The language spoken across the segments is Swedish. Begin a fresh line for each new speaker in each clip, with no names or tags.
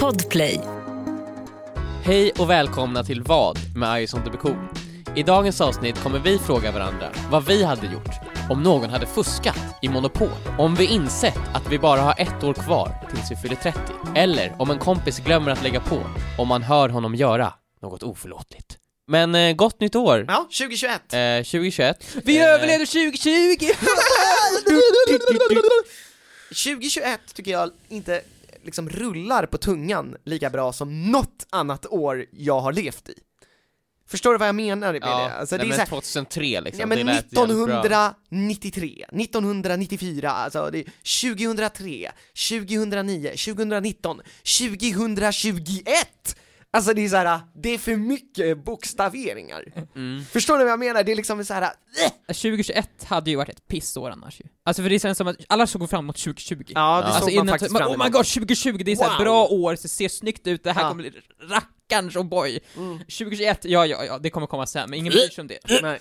Podplay.
Hej och välkomna till Vad med Ice on the Cool. I dagens avsnitt kommer vi fråga varandra vad vi hade gjort om någon hade fuskat i Monopol, om vi insett att vi bara har ett år kvar tills vi fyller 30, eller om en kompis glömmer att lägga på om man hör honom göra något oförlåtligt. Men eh, gott nytt år!
Ja, 2021.
Eh, 2021.
Vi
Eh,
överlevde 2020!
2021 tycker jag inte liksom rullar på tungan lika bra som något annat år jag har levt i. Förstår du vad jag menar med
Ja,
det? Alltså,
nej,
det
men
är så här,
2003 liksom.
ja, men
det lät jävligt bra.
1993, 1994, alltså det är 2003, 2009, 2019, 2021! Alltså det är så här, det är för mycket bokstaveringar.
Mm.
Förstår ni vad jag menar? Det är liksom så här, äh!
2021 hade ju varit ett pissår annars ju. Alltså för det känns som att alla såg fram emot 2020.
Ja, det
alltså
såg man
innan,
faktiskt
man,
fram
oh my
emot.
god, 2020, det är så här
Wow.
bra år, det ser snyggt ut, det här
Ja. Mm.
kommer bli rackarns och boy. 2021, ja ja ja, det kommer komma sen, men ingen bryr sig om det.
Nej.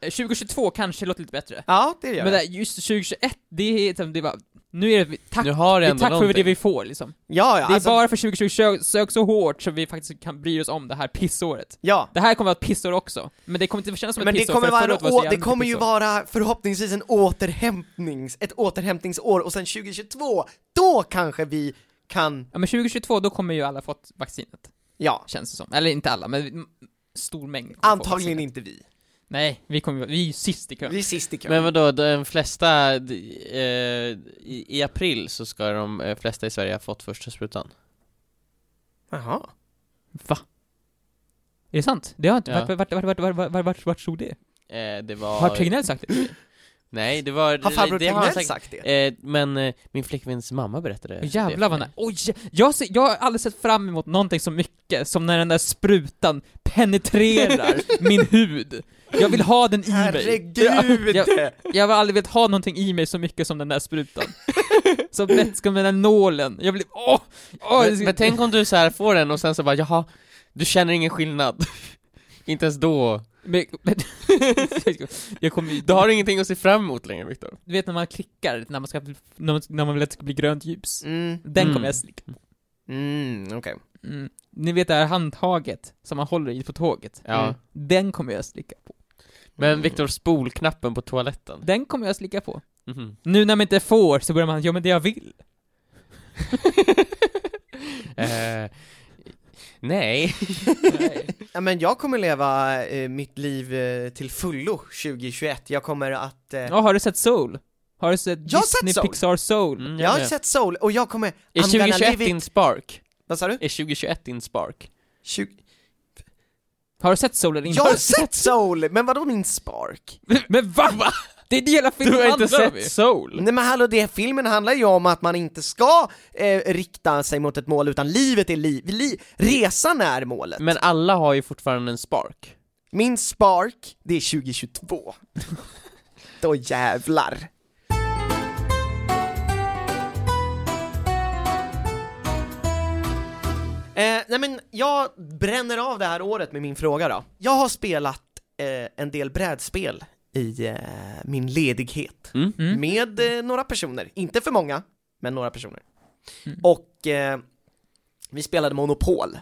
Eh, 2022 kanske låter lite bättre.
Ja, det gör jag.
Men det, här, just 2021, det är, liksom- det var, nu är det, tack,
Nu har det
det är
ändå
tack för det
någonting.
vi får liksom.
Ja, ja,
Det är
alltså,
bara för 2020 sök, sök så hårt så vi faktiskt kan bry oss om det här pissåret.
ja.
Det här kommer vara ett pissår också, men det kommer inte kännas som
Men
ett
det
pissår
kommer,
för
vara,
förra året var så
å, det
jävla
kommer ju
pissår.
vara förhoppningsvis en återhämtnings, ett återhämtningsår och sen 2022, då kanske vi kan,
Ja men 2022, då kommer ju alla fått vaccinet,
ja,
känns det som. Eller inte alla, men m- stor mängd. kommer få
antagligen
vaccinet.
inte vi.
Nej, vi kommer vi är ju sist i kön.
Vi är sist i kön.
Men vadå, de flesta, d- eh, i, i april så ska de eh, flesta i Sverige ha fått första sprutan.
Jaha.
Va? Är det sant? Det har inte,
Ja.
vart, vart, vart, vart, vart, vart, vart, vart stod det?
Eh, det var...
Har Tegnell sagt det?
Nej, det var...
Har farbror
det- det har han
Tegnell sagt det?
Eh, men eh, min flickväns mamma berättade det
Jävlar
för
vad
mig.
nä- Oj! Jag, ser, jag har aldrig sett fram emot någonting så mycket som när den där sprutan penetrerar min hud. Jag vill ha den i mig.
Herregud!
Jag, jag, jag har aldrig velat ha någonting i mig så mycket som den där sprutan. Som vätskan med den där nålen. Jag blir... Åh! åh det
men,
ska-
men tänk om du så här får den och sen så bara jaha, du känner ingen skillnad. Inte ens då.
Men, men, jag kommer ju,
Du har ingenting att se fram emot längre Viktor.
du vet när man klickar, när man, ska, bli- när man, när man vill att det ska bli grönt ljus.
Mm,
Den
Mm.
kommer jag slicka på.
mm okej.
Mm. Ni vet det här handtaget som man håller i på tåget.
Ja.
Mm.
Den kommer jag slicka på.
Men Viktor, spolknappen på toaletten.
Den kommer jag slicka på.
Mhm.
Nu när man inte får så börjar man, ja men det jag vill.
eh, nej.
Ja, men jag kommer leva eh, mitt liv eh, till fullo 2021, jag kommer att eh,
Ja, har du sett Soul? Har du sett
Jag har sett
Disney
Soul.
Pixar Soul?
Mm,
Jag har
med.
sett Soul och jag kommer...
Är
I'm gonna
2021
live it-
din spark?
Vad sa du?
Är 2021 din spark?
20...
Har du sett Soul eller inte?
Jag har sett Soul, men vadå min spark?
Men va? Det är det hela filmen
Du har inte
handlar om
sett
ju.
Soul?
Nej men hallå, det filmen handlar ju om att man inte ska eh, rikta sig mot ett mål utan livet är liv, li- resan är målet.
Men alla har ju fortfarande en spark.
Min spark, det är 2022. Då jävlar. Eh, nej men jag bränner av det här året med min fråga då. Jag har spelat eh, en del brädspel i eh, min ledighet
Mm.
Mm.
med eh, några personer, inte för många, men några personer.
Mm.
Och eh, vi spelade Monopol.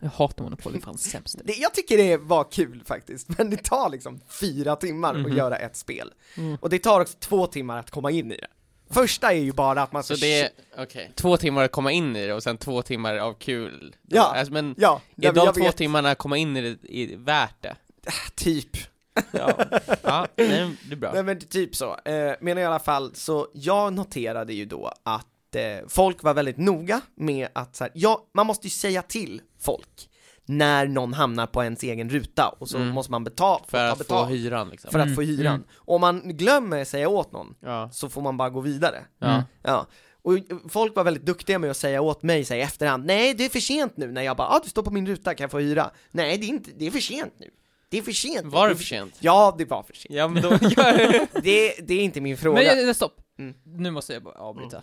Jag hatar Monopol, det är fan sämst.
Det, jag tycker det var kul faktiskt, men det tar liksom fyra timmar
Mhm.
att göra ett spel.
Mm.
Och det tar också två timmar att komma in i det. Första är ju bara att man
Så
ska...
det är två timmar att komma in i det och sen två timmar av kul.
Ja.
Alltså, men
Ja,
är
jag,
de
jag
två
vet,
timmarna att komma in i det i, värt det?
typ.
Ja, ja nej, det är bra.
Nej men typ så. Eh, men i alla fall, så jag noterade ju då att eh, folk var väldigt noga med att så här, ja, man måste ju säga till folk när någon hamnar på ens egen ruta och så
Mm.
måste man betala
För att få
betalt
hyran liksom.
för att få
Mm,
hyran.
mm.
Om man glömmer säga åt någon
Ja.
så får man bara gå vidare.
Ja.
Mm.
Ja, och folk var väldigt duktiga med att säga åt mig så här i efterhand, nej det är för sent nu, när jag bara, ah, du står på min ruta, kan jag få hyra? Nej det är inte, det är för sent nu. Det är för sent. nu.
Var det
är
för sent?
Ja, det var för sent.
Ja men då, ja.
Det, det är inte min fråga.
Men eh, stopp.
Mm.
Nu måste jag bara avbryta.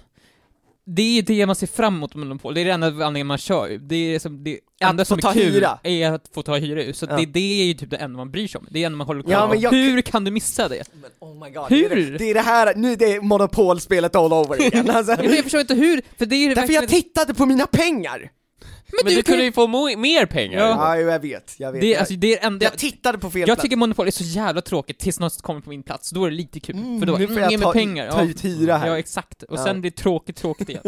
det är det man ser fram emot med monopol, det är den enda anledningen man kör ju. Det är som, det enda
Att
som
få
är
ta
kul
hyra.
är att få ta hyra ut, så
Ja.
det, det är ju typ det enda man bryr sig om, det är det enda man håller koll
Ja,
på.
men jag-
Hur kan du missa det?
Men oh my god,
Hur?
Det, är det, det är det här, nu är det monopolspelet all over igen alltså.
Jag, jag förstår inte hur, för det är ju
Därför jag
verkligen-
tittade på mina pengar!
Men,
Men
du,
du
kan
kunde
ju...
ju få mo- mer pengar!
Ja.
Ja, jo, jag vet, jag vet.
Det, är-
jag,
alltså, det är det enda...
jag tittade på fel
Jag
plats.
tycker monopol är så jävla tråkigt tills någon kommer på min plats, då är det lite kul,
Mm,
för då,
nu får jag
ge mig
ta,
pengar.
ta
Ja.
ut hyra här.
Ja, exakt. Och
Ja.
sen blir det tråkigt, tråkigt igen.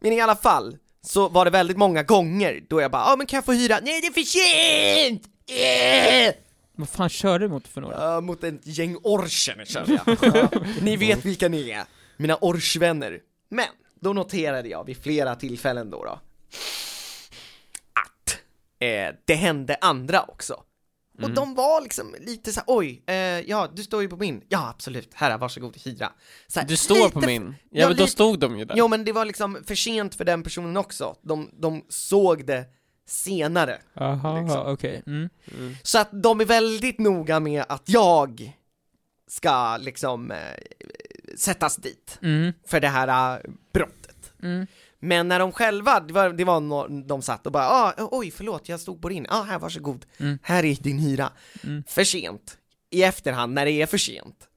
Men i alla fall, så var det väldigt många gånger då jag bara ah, men kan jag få hyra? Nej det är för sent! Eh!
Vad fan kör du mot för några?
Ja, Eh, mot ett gäng orcher känner jag. Ja. Ni vet vilka ni är, mina orchvänner. Men, då noterade jag vid flera tillfällen då, då att eh, det hände andra också. Och
Mm.
de var liksom lite så här, oj, eh, ja du står ju på min, ja absolut, här varsågod hyra. Så här,
Du står
lite
på min. Ja,
ja,
men då
lite-
stod de ju där.
Jo men det var liksom för sent för den personen också, de, de såg det senare.
Jaha,
Liksom.
okej. Mm.
Så att de är väldigt noga med att jag ska liksom eh, sättas dit
Mm.
för det här eh, brottet.
Mm.
Men när de själva, det var, det var no, de satt och bara ah, oj förlåt jag stod på din, ah, här varsågod,
Mm.
här är din hyra.
Mm.
För sent, i efterhand när det är för sent.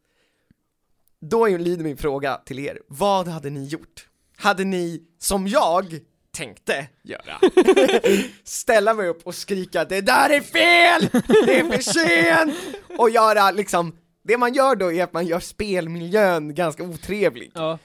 Då är- lyder min fråga till er, vad hade ni gjort? Hade ni, som jag tänkte göra, ställa mig upp och skrika det där är fel, det är för sent! Och göra liksom, det man gör då är att man gör spelmiljön ganska otrevlig.
Ja.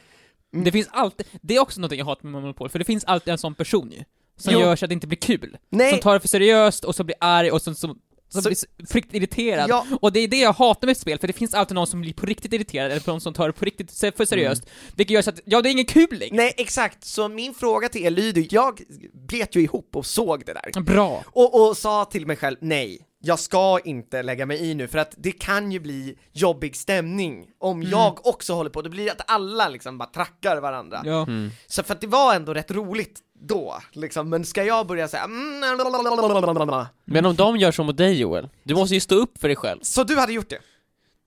Mm.
Det finns alltid, det är också något jag hatar med Monopol, för det finns alltid en sån person ju. Som
Jo.
gör så att det inte blir kul. Som
Nej,
tar det för seriöst och som blir arg och som, som, som
Så-
blir s- frikt irriterad.
Ja.
Och det är det jag hatar med spel, för det finns alltid någon som blir på riktigt irriterad, eller någon som tar det på riktigt se- för seriöst.
Mm.
Vilket gör så att, ja det är ingen kul längre.
Nej, exakt. Så min fråga till er lyder, jag bet ju ihop och såg det där.
Bra.
Och, och sa till mig själv, nej, jag ska inte lägga mig i nu för att det kan ju bli jobbig stämning om
Mm.
jag också håller på. Det blir att alla liksom bara trackar varandra.
Ja.
Mm.
Så för att det var ändå rätt roligt då, liksom. Men ska jag börja säga mm, lalalala?
Men om de gör så mot dig Joel, du måste ju stå upp för dig själv.
Så du hade gjort det?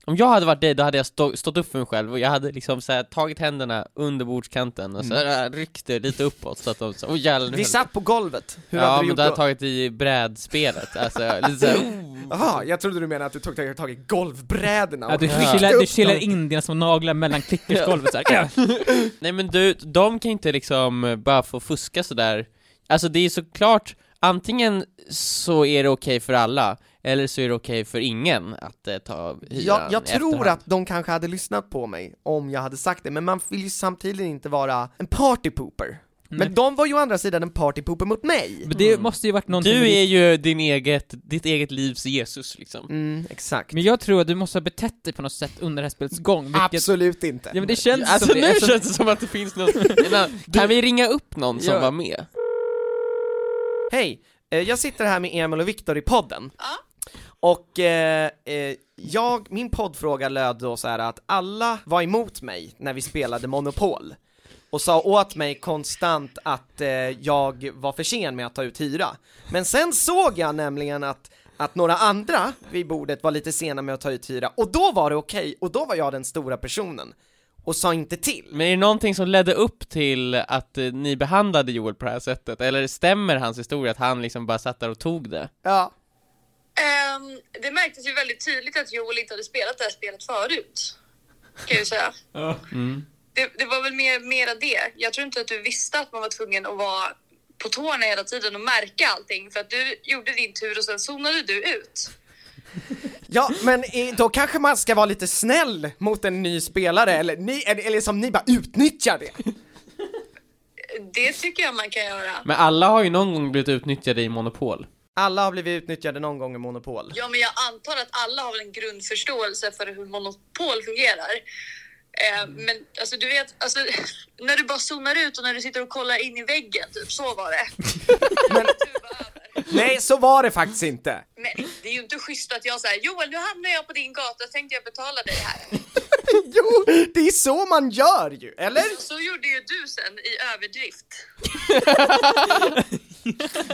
Om jag hade varit dig, då hade jag stå, stått upp för mig själv och jag hade liksom så här, tagit händerna under bordskanten och så här, äh, ryckt det lite uppåt så att de så, oh, jävlar, nu
Mm. Vi
höll-
satt på golvet, hur
Ja,
hade du
men
gjort
då hade jag
då?
tagit i brädspelet, alltså lite så här, oh.
Jaha, jag trodde du menade att du tog tag i golvbrädorna
Ja, du,
Ja.
kilar, du kilar in dina små naglar mellan klickersgolvet såhär.
Nej men du, de kan ju inte liksom eh, bara få fuska sådär Alltså det är såklart, antingen så är det okej för alla, eller så är det okej för ingen att eh, ta hyran
Jag, jag
i
tror
efterhand.
att de kanske hade lyssnat på mig om jag hade sagt det, men man vill ju samtidigt inte vara en partypooper.
Nej.
Men de var ju å andra sidan en partypooper mot mig!
Men det måste ju varit någonting med
Mm. Du
ditt-
är ju din eget, ditt eget livs Jesus liksom
Mm, exakt.
Men jag tror att du måste ha betett dig på något sätt under det här spelets gång, vilket...
Absolut inte.
Ja men det känns
Alltså
som
nu
det, eftersom-
känns det som att det finns någon, en annan- kan vi ringa upp någon som
Ja.
var med?
Hej! eh, Jag sitter här med Emil och Viktor i podden. Och eh, eh, jag, min poddfråga löd då så här att alla var emot mig när vi spelade Monopol. Och sa åt mig konstant att eh, jag var för sen med att ta ut hyra. Men sen såg jag nämligen att att några andra vid bordet var lite sena med att ta ut hyra, och då var det okej, och då var jag den stora personen. Och sa inte till.
Men är det någonting som ledde upp till att eh, ni behandlade Joel på det här sättet? Eller stämmer hans historia att han liksom bara satt där och tog det?
Ja.
Ehm, det märktes ju väldigt tydligt att Joel inte hade spelat det här spelet förut. Kan jag ju säga. Det, det var väl mer, mera det. Jag tror inte att du visste att man var tvungen att vara på tårna hela tiden och märka allting. För att du gjorde din tur och sen zonade du ut.
Ja, men eh, då kanske man ska vara lite snäll mot en ny spelare, eller, ni, eller, eller som ni bara utnyttjar det.
Det tycker jag man kan göra.
Men alla har ju någon gång blivit utnyttjade i Monopol
Alla har blivit utnyttjade någon gång i Monopol.
Ja, men jag antar att alla har väl en grundförståelse för hur monopol fungerar. Eh, men alltså, du vet, alltså, när du bara zonar ut och när du sitter och kollar in i väggen, typ, så var det. Tur var över.
Nej, så var det faktiskt inte.
Men det är ju inte schysst att jag säger Joel, nu hamnar jag på din gata, tänkte jag betala dig här.
Jo, det är så man gör ju, eller?
Så gjorde ju du sen i överdrift.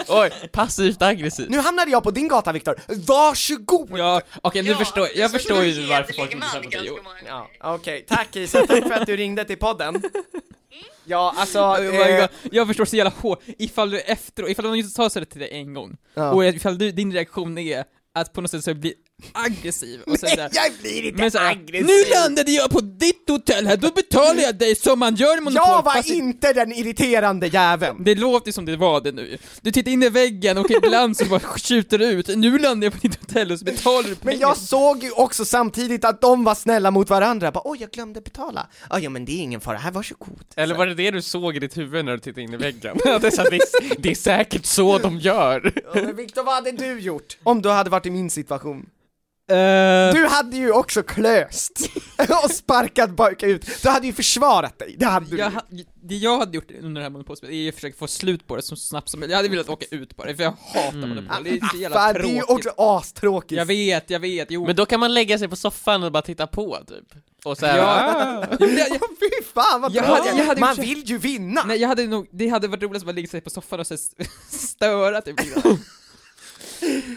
Oj, passivt aggressivt
Nu hamnade jag på din gata, Viktor. Varsågod!
Ja, okej nu förstår jag, jag
så
förstår
du
ju varför
hederlig
folk inte
man
säger på dig.
ganska
Jo.
många gånger.
Ja, okej. Tack Isa, tack för att du ringde till podden. Ja, alltså...
Oh my
eh,
God. Jag förstår så jävla hårt, ifall du efteråt, ifall någon just sa sådär till dig en gång,
ja.
och ifall du, din reaktion är att på något sätt så bli aggressiv och
Nej,
sådär.
jag blir inte
Men såhär,
aggressiv!
nu landade jag på ditt hotell här, då betalar jag dig som man gör i monopol!
jag var
fast det-
inte den irriterande jäveln!
Det låter som det var det nu. Du tittar in i väggen och ibland så bara skjuter det ut, nu landar jag på ditt hotell och så betalar du
Men
pengar.
jag såg ju också samtidigt att de var snälla mot varandra, bara oj jag glömde betala. Ja, ja men det är ingen fara, här varsågod.
Eller var det det du såg i ditt huvud när du tittade in i väggen? Att det, är så här, det, är, det är säkert så de gör!
Ja, men Viktor, vad hade du gjort? Om du hade varit i min situation?
Eh,
Du hade ju också klöst! och sparkat bak ut. Du hade ju försvarat dig, det hade du
jag,
ju.
ha- det jag hade gjort under det här monopolspelet är att försöka få slut på det så snabbt som möjligt. Jag hade velat åka ut på det, för jag hatar
Mm.
monopol. Det är så jävla
Ah, Fan, det är ju
tråkigt.
också astråkigt.
Jag vet, jag vet, jo.
Men då kan man lägga sig på soffan och bara titta på, typ. Och så här,
Ja. Jo, men jag, jag,
Fy fan vad
Jag
bra!
hade- jag hade
Man
försökt-
vill ju vinna!
nej, jag hade nog, det hade varit roligt att bara ligga sig på soffan och så här störa typ. lite grann.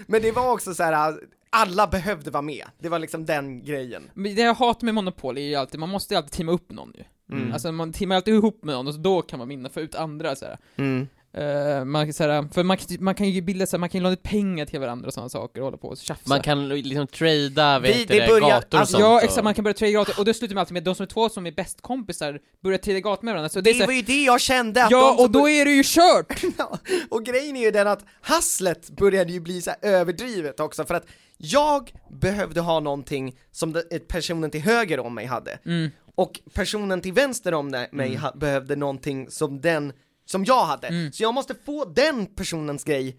Men det var också så här. alla behövde vara med. Det var liksom den grejen.
Men det jag hatar med Monopol är ju alltid, man måste ju alltid teama upp någon ju.
Mm.
Alltså man teamar alltid ihop med någon och så då kan man vinna, få ut andra så här.
Mm.
Eh, man, så här, för man, kan- man kan ju bilda så här, man kan ju låna ut pengar till varandra och sådana saker och hålla på och tjafsa.
Man kan liksom trada,
Vi-
vet du
det
det,
börjar-
gator och
alltså,
sånt.
Ja
och-
exakt, man kan börja trada gator, och det slutar med alltid med att de som är två som är bäst kompisar börjar trada gator med varandra, så det är
Det
så
var
här,
ju det jag kände att de
Ja,
som
och då är det ju kört!
Ja, och grejen är ju den att hasslet började ju bli så här överdrivet också för att jag behövde ha någonting som de- personen till höger om mig hade
Mm.
och personen till vänster om de- mig ha, behövde någonting som den som jag hade.
Mm.
Så jag måste få den personens grej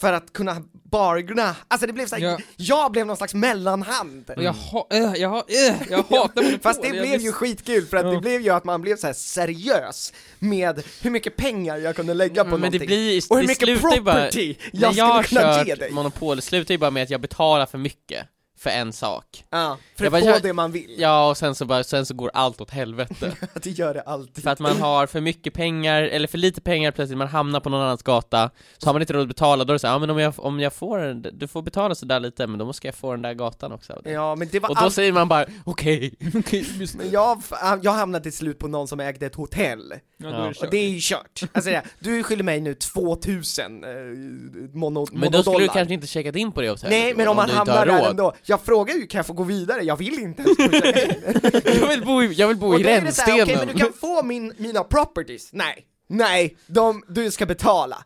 för att kunna bargna, alltså det blev så här,
Ja.
jag blev någon slags mellanhand.
Och jag, ha, eh, jag, ha, eh, jag hatar Monopol!
Fast det
jag
blev
blir
ju
så-
skitkul för att det
Ja.
blev ju att man blev så här seriös med hur mycket pengar jag kunde lägga på
Mm, men
någonting.
det blir
och hur
det
mycket
slutar ju bara-
property
När
jag
jag
skulle kunna
har
ge
kört
dig.
Monopol, det slutar ju bara med att jag betalar för mycket för en sak.
Ja, för
Jag
att få
bara, jag-
det man vill.
Ja, och sen så, bara, sen så går allt åt helvete.
Att det gör det alltid.
för att man har för mycket pengar, eller för lite pengar plötsligt, man hamnar på någon annans gata, så har man inte råd att betala, då är det så här, ja men om jag, om jag får den, du får betala sådär lite, men då måste jag få den där gatan också. av dig."
Ja, men det var
Och då
allt.
säger man bara, okej, okej, just det.
Men jag, jag hamnade till slut på någon som ägde ett hotell.
Ja, då är det
Och
kört.
det är ju kört. Alltså, det är- du skyller mig nu 2000 eh, mono,
Men då skulle du
monodollar.
kanske inte checkat in på det hotellet
Nej, men om man
du inte har
hamnar där
råd.
ändå. Jag frågar ju, kan jag få gå vidare? Jag vill inte ens skjutsa in.
Jag vill bo i, jag vill bo
Och
i
då är det så här,
rännstenen!
Okej, men du kan få min, mina properties. Nej, nej, de, du ska betala.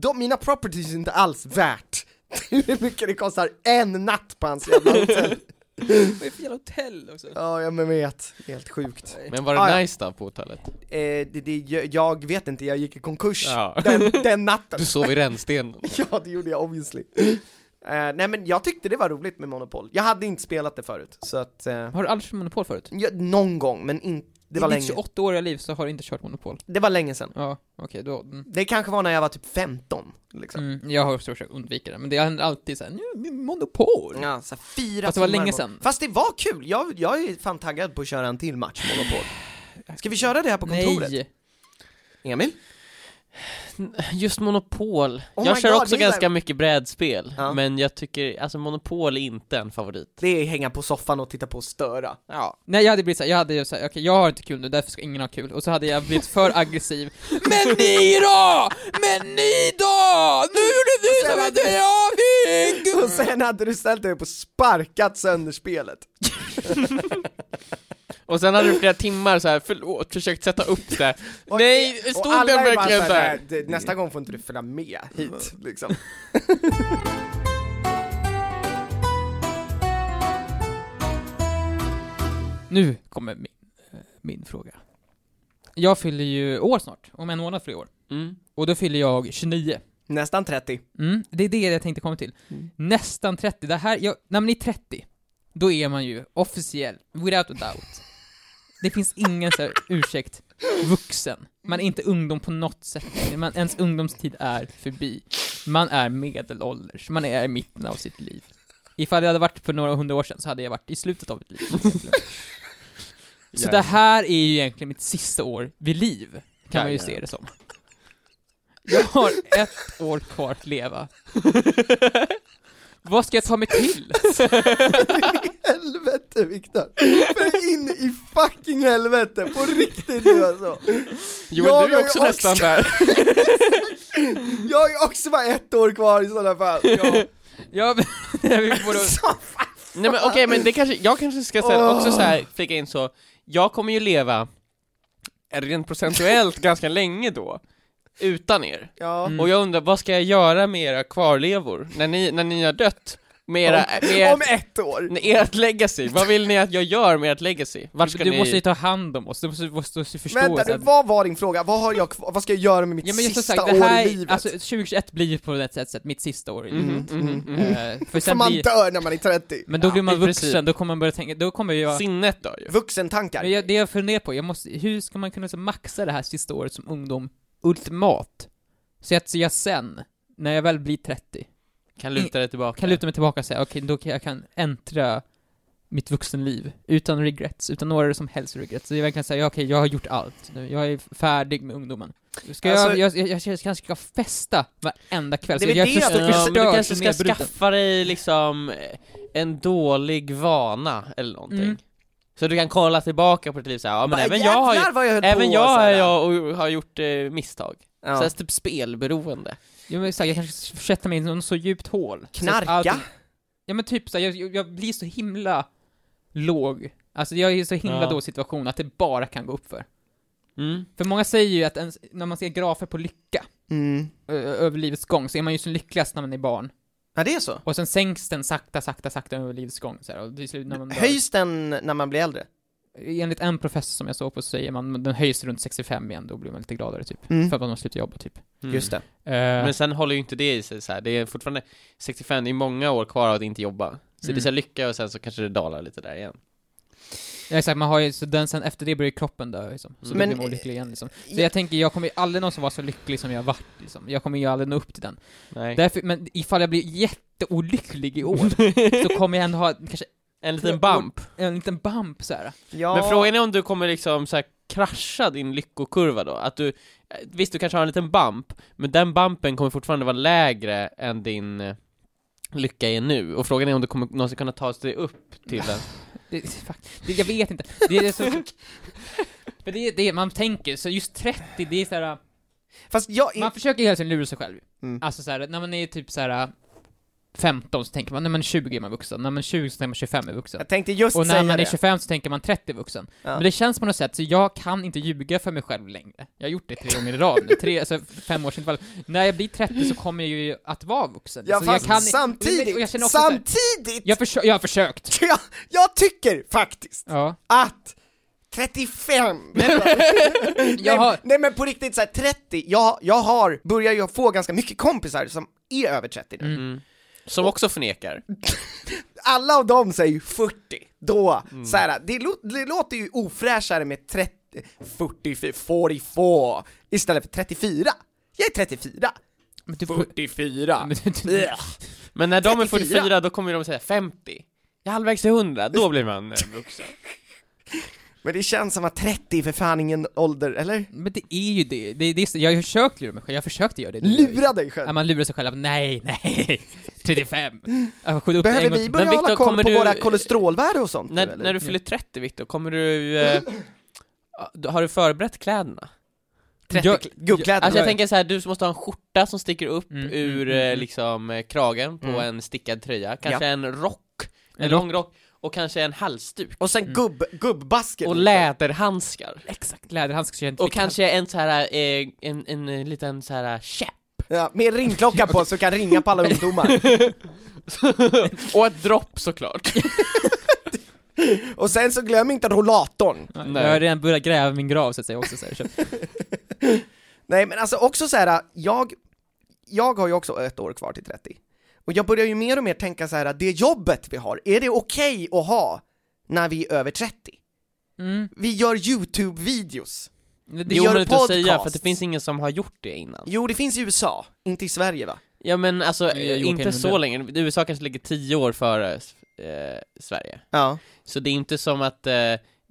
De, mina properties är inte alls värt hur mycket det kostar en natt på hans jävla hotell.
Vad är det för jävla hotell också?
Ja, jag men vet. Helt sjukt.
Men var det
Ah, ja.
nice då på hotellet?
Eh, det, det, jag- jag vet inte, jag gick i konkurs
Ja.
den, den natten.
Du sov i rännstenen?
Ja, det gjorde jag obviously. Eh, nej men jag tyckte det var roligt med Monopol. Jag hade inte spelat det förut, så att... Eh,
Har du aldrig kört Monopol förut?
ja, någon gång, men in, det, var
I ditt
länge,
28-åriga liv så har du inte kört Monopol.
det var länge sedan.
Ja, okej då. Mm.
Det kanske var när jag var typ 15, liksom.
Mm, jag har också försökt undvika det, men det är alltid såhär, nu, monopol!
Ja, så här fyra
Fast det
timmar
var länge
imorgon.
sedan.
Fast det var kul, jag, jag är fan taggad på att köra en till match Monopol. Ska vi köra det här på kontoret?
Nej!
Emil?
Just Monopol.
Oh
jag
my
kör
God,
också
det är
ganska
där-
mycket brädspel,
Ja.
men jag tycker, alltså Monopol är inte en favorit.
Det är hänga på soffan och titta på och störa. Ja.
Nej jag hade blivit såhär, jag hade ju såhär, okej jag har inte kul nu, därför ska ingen ha kul, och så hade jag blivit för aggressiv Men ni då! Men ni då! Nu gjorde du som att jag fick!
Och sen hade du ställt dig upp och sparkat sönder spelet.
Och sen hade du flera timmar så här, förlåt, försökt sätta upp det.
Och-
Nej,
och
stod
alla
den
är bara
verkligen
så här,
där?
"Nej, det- Nästa gång får inte du följa med
Mm.
hit, liksom.
Nu kommer min, eh, min fråga Jag fyller ju år snart, om en månad fyller jag år,
Mm.
och då fyller jag 29
Nästan 30.
Mm, det är det jag tänkte komma till. Nästan 30, det här, jag, när man är 30, då är man ju officiell, without a doubt. Det finns ingen så här, ursäkt, vuxen. Man är inte ungdom på något sätt längre. man, ens ungdomstid är förbi. Man är medelålders, man är i mitten av sitt liv. Ifall jag hade varit för några hundra år sedan så hade jag varit i slutet av mitt liv. egentligen. så det här är ju egentligen mitt sista år vid liv, kan man ju
Jajamän.
se det som. Jag har ett år kvar att leva. Vad ska jag ta mig till?
helvete Viktor! För in i fucking helvete, på riktigt nu alltså!
Joel,
Jag
du är
har
också
ju
nästan där.
Jag är också bara ett år kvar i sådana fall! Ja.
Ja, men- vi borde...
Så fan.
Nej men okej, men det kanske, jag kanske ska säga
Åh.
också så här, flika in så, jag kommer ju leva rent procentuellt ganska länge då, utan er.
Ja.
Och jag undrar, vad ska jag göra med era kvarlevor när ni, när ni har dött? Med era, med
Om
ert,
ett år!
med ert legacy? Vad vill ni att jag gör med ert legacy? Vart ska
Du
ni...
måste ju ta hand om oss, du måste, måste, måste förstå
Vänta
så
nu,
här-
vad var din fråga? Vad, har jag, kvar- vad ska jag göra med mitt
Ja men just
sista
som sagt,
år
det här,
i livet?
alltså 2021 blir ju på ett sätt, sätt mitt sista år i
Mhm,
livet.
mhm, mhm.
Eh, För
För
sen
man
blir,
dör när man är 30!
men då blir man
i princip.
vuxen, då kommer man börja tänka, då kommer jag...
Sinnet då ju.
Vuxentankar!
Men jag det jag funderar på, jag måste, hur ska man kunna så maxa det här sista året som ungdom ultimat? Så att så jag sen, när jag väl blir 30,
Kan luta dig tillbaka.
kan luta mig tillbaka och säga okej, då kan jag kan äntra mitt vuxenliv utan regrets, utan några som helst regrets. Så jag verkligen säga, ja, okej, jag har gjort allt nu, jag är färdig med ungdomen. Ska
Alltså-
jag, jag, jag, jag kanske ska festa varenda kväll,
Det är
så
väl
jag
det
är så
jag tycker.
Alltså, Ja, men du
förstörd
kanske
och
ska
nedbruten.
skaffa dig liksom eh, en dålig vana eller någonting.
Mm.
Så du kan kolla tillbaka på ditt liv såhär, ja men
Bara,
även jag har ju,
jävlar vad jag höll
även
på,
jag,
så
har,
här.
jag och, har gjort eh, misstag.
Ja.
Så här, typ spelberoende.
Ja, men, så här, jag kanske försätter mig i något så djupt hål. Så att
Knarka!
allt- ja men typ så här, jag, jag- jag blir så himla låg. Alltså jag är i så himla
Ja.
då situation att det bara kan gå uppför.
Mm.
För många säger ju att ens, när man ser grafer på lycka
Mm.
ö- ö- över livets gång så är man ju som lyckligast när man är barn.
Ja det är så.
Och sen sänks den sakta, sakta, sakta över livets gång så här, och till slut när man dör.
Höjs den när man blir äldre?
Enligt en professor som jag såg på så säger man den höjs runt 65 igen, då blir man lite gladare typ.
Mm.
För att man har slutat jobba typ.
Mm.
Just det.
Eh,
Men sen håller ju inte det i sig så här. det är fortfarande 65, det är många år kvar av att inte jobba. Så det
Mm.
blir så här lycka och sen så kanske det dalar lite där igen.
Ja, exakt, man har ju, så den sen efter det börjar ju kroppen dö liksom. Så
Men-
då blir man olycklig igen liksom. Så jag tänker, jag kommer ju aldrig någonsin vara så lycklig som jag har varit liksom. Jag kommer ju aldrig nå upp till den.
Nej.
Därför, men ifall jag blir jätteolycklig i år, så kommer jag ändå ha kanske
En liten bump.
en liten bump så här.
Ja.
Men frågan är om du kommer liksom så här krascha din lyckokurva då? Att du, eh, visst du kanske har en liten bump, men den bumpen kommer fortfarande vara lägre än din eh, lycka är nu. Och frågan är om du kommer någonsin kunna ta dig upp till den.
Det, fuck, det, jag vet inte. Det är så... Men det är det man tänker, så just 30, det är så här.
Fast jag är...
man försöker hela tiden lura sig själv.
Mm.
Alltså så här, när man är typ så här 15 så tänker man, nej men 20 är man vuxen, när man är 20 så tänker man 25 är vuxen.
Jag tänkte just
Och när
säga
man är
det.
25 så tänker man 30 vuxen.
Ja.
Men det känns på något sätt, så jag kan inte ljuga för mig själv längre. Jag har gjort det tre gånger i rad nu, tre, alltså fem års intervall. När jag blir 30 så kommer jag ju att vara vuxen.
Ja
så
fast
jag kan,
samtidigt,
Och jag känner också så här-
samtidigt!
Jag, försö- jag har försökt.
Jag, jag tycker faktiskt
Ja.
att 35! Nej,
Jag har,
nej men på riktigt så här 30, jag, jag har, börjar ju få ganska mycket kompisar som är över 30 nu.
Som också förnekar.
Alla av dem säger ju 40, då, så här, det, lå- det låter ju ofräschare med 30, 44, 44 istället för 34. Jag är 34.
men du,
44.
men du,
Ugh.
Men när de är
34,
44, då kommer de säga 50. Jag är halvvägs till 100, då blir man eh, vuxen.
Men det känns som att 30 är för fan ingen ålder, eller?
men det är ju det. det, är- det är, så- jag har ju försökt lura mig själv, jag försökte göra det.
Lura dig
Ja,
själv!
man lurar sig själv, nej, nej, 35. Jag skjuter upp det
Behöver
en gång
vi
till.
börja
Viktor,
hålla koll
kommer
på
du-
våra kolesterolvärden och sånt? nu,
När,
eller?
när du fyller 30, Viktor, kommer du... Eh, har du förberett kläderna?
30
Jag- Gubbkläder?
Alltså jag
Ja.
tänker så här, du måste ha en skjorta som sticker upp
Mm, mm,
ur
mm,
eh,
mm.
liksom eh, kragen på
Mm.
en stickad tröja, kanske en rock, en,
En
lång rock, och kanske en halsduk.
och sen gubb, typ. gubbbasket?
Mm. Och läderhandskar.
Exakt, läderhandskar så jag inte
Och
fick hand-
kanske en så här, eh, en, en, eh, liten så här käpp.
Ja, med ringklocka på så du kan ringa på alla ungdomar.
och ett dropp såklart.
Och sen så glöm inte rollatorn.
Ja,
Nej.
Jag har redan börjat gräva min grav så att säga också så här. Så-
Nej men alltså också så här, jag, jag har ju också ett år kvar till 30. Och jag börjar ju mer och mer tänka så här, det jobbet vi har, är det okej att ha när vi är över 30?
Mm.
Vi gör YouTube-videos.
Men
Det
Det,
är
gör
omöjligt att säga för att
podcasts.
det finns ingen som har gjort det innan.
Jo, det finns i USA, inte i Sverige va?
Ja men alltså,
Men jag har
eh,
gjort
inte
en
så
del.
länge. USA kanske ligger tio år före eh, Sverige.
Ja.
Så det är inte som att eh,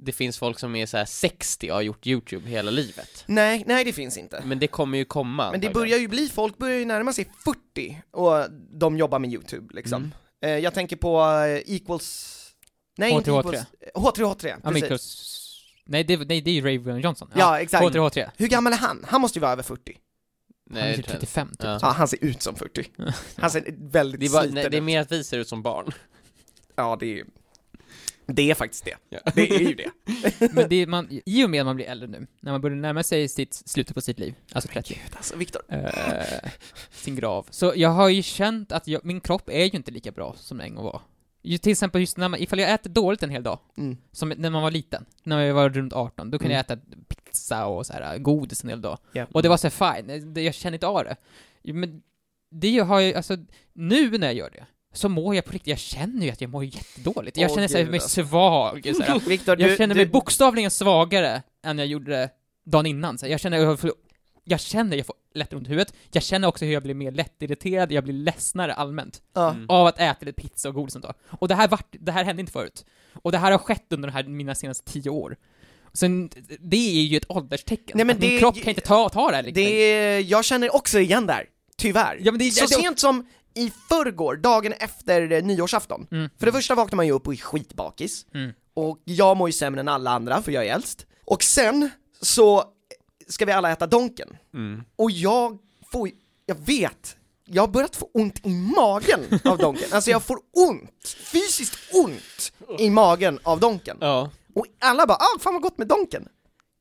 det finns folk som är så här 60 och har gjort YouTube hela livet.
Nej, nej det finns inte.
Men det kommer ju komma.
Men det
Mm. antagligen.
börjar ju bli, folk börjar ju närma sig 40 och de jobbar med YouTube liksom.
Mm.
Eh, jag tänker på eh, Equals, nej inte
H3H3.
Equals, eh, H3H3,
Ja,
precis.
Mikros... Nej, det, nej, det är ju Raven Johnson.
Ja, exakt.
H3, H3.
Hur gammal är han? Han måste ju vara över 40.
Han är
Nej,
typ
det,
35 typ.
Ja.
Ja, han ser ut som 40. Han ser väldigt
det, är bara,
sliten
nej, det är
ut.
mer att vi ser ut som barn.
Ja, det är ju, det är faktiskt det.
Ja.
Det är ju det.
Men det är man, i och med att man blir äldre nu, när man börjar närma sig sitt, slutet på sitt liv, alltså 30,
Gud alltså, Viktor.
eh, sin grav. Så jag har ju känt att jag, min kropp är ju inte lika bra som den en gång var. Ju, till exempel just när man, ifall jag äter dåligt en hel dag,
Mm.
som när man var liten, när jag var runt 18, då kunde
Mm.
jag äta pizza och så här, godis en hel dag.
Ja.
Och det var så här, fine, det- jag kände inte av det. Jo, Men det har jag, alltså, nu när jag gör det, så mår jag på riktigt, jag känner ju att jag mår jättedåligt. Jag
Åh,
känner så här,
gud,
mig
alltså.
svag. Så här.
Viktor,
Jag
du,
känner
du,
mig bokstavligen svagare än jag gjorde det dagen innan. Så jag känner jag får, jag känner jag får lätt ont i huvudet. Jag känner också hur jag blir mer lättirriterad, jag blir ledsnare allmänt
ja.
Mm.
av att äta lite pizza och godis och sånt där. Och det här, vart, det här hände inte förut. Och det här har skett under de här mina senaste tio år. Sen, det är ju ett ålderstecken.
Nej, men
Att min
det-
kropp kan inte ta, ta det här
Det
riktigt.
är, jag känner också igen där, tyvärr.
Ja, men det-
så
det-
sent som i förrgår, dagen efter eh, nyårsafton.
Mm.
För det första vaknar man ju upp och är skitbakis.
Mm.
Och jag mår ju sämre än alla andra, för jag är äldst. Och sen så ska vi alla äta Donken.
Mm.
Och jag får, ju- jag vet, jag har börjat få ont i magen av Donken. Alltså jag får ont, fysiskt ont i magen av Donken.
Ja.
Och alla bara ah, fan vad gott med Donken!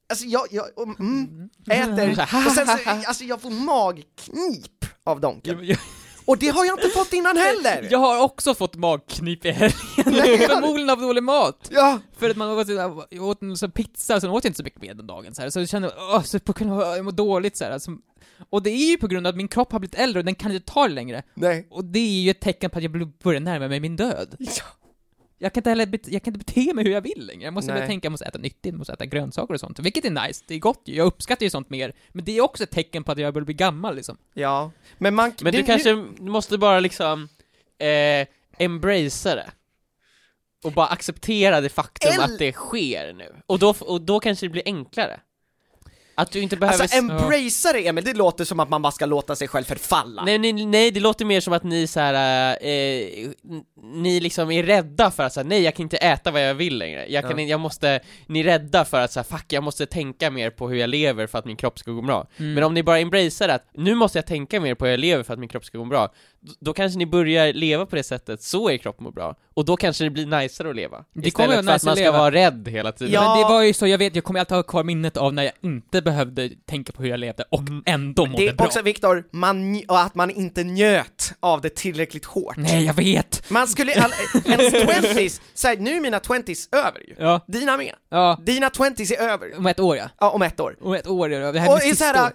Alltså jag, jag och, mm, äter, och sen så, alltså jag får magknip av Donken.
Jag,
Och det har jag inte fått innan heller!
jag har också fått magknip i helgen, förmodligen av dålig mat.
Ja,
För att man åt, jag åt en sån pizza, sen åt jag inte så mycket mer den dagen så, här. så jag kände åh, så på grund av, jag mår dåligt så här. Alltså, och det är ju på grund av att min kropp har blivit äldre och den kan inte ta det längre.
nej.
Och det är ju ett tecken på att jag blir- börjar närma mig min död. Jag kan inte heller bet- jag kan inte bete mig hur jag vill längre. Jag måste
Nej.
börja tänka, jag måste äta nyttigt, jag måste äta grönsaker och sånt. Vilket är nice, det är gott ju. Jag uppskattar ju sånt mer. Men det är också ett tecken på att jag börjar bli gammal liksom.
Ja, men man
Men du
det-
kanske måste bara liksom, eh, embracea det. Och bara acceptera det faktum
El-
att det sker nu. Och då, f- och då kanske det blir enklare. Att du inte behöver...
Alltså embracea det Emil, det låter som att man bara ska låta sig själv förfalla.
Nej, nej, nej, det låter mer som att ni så här, eh, n- ni liksom är rädda för att säga nej jag kan inte äta vad jag vill längre, jag kan
Ja.
inte, jag måste, ni är rädda för att säga fuck jag måste tänka mer på hur jag lever för att min kropp ska gå bra.
Mm.
Men om ni bara embracear att nu måste jag tänka mer på hur jag lever för att min kropp ska gå bra, d- då kanske ni börjar leva på det sättet, så er kropp mår bra, och då kanske det blir najsare att leva.
Det kommer
Istället
att
för
vara
att
nice
man
att
ska
leva.
vara rädd hela tiden.
Ja.
Men det var ju så, jag vet, jag kommer alltid ha kvar minnet av när jag inte behövde tänka på hur jag levde och ändå mådde
Mm. det är
bra.
också Viktor, man nj- och att man inte njöt av det tillräckligt hårt.
Nej, jag vet!
Man skulle, all, ens 20s, såhär, nu är mina 20s över ju.
Ja,
Dina med.
ja.
Dina 20s är över.
Om ett år ja.
Ja, om ett år.
Om ett år är det. Det här är
Och
mitt
är
sista
såhär,
år.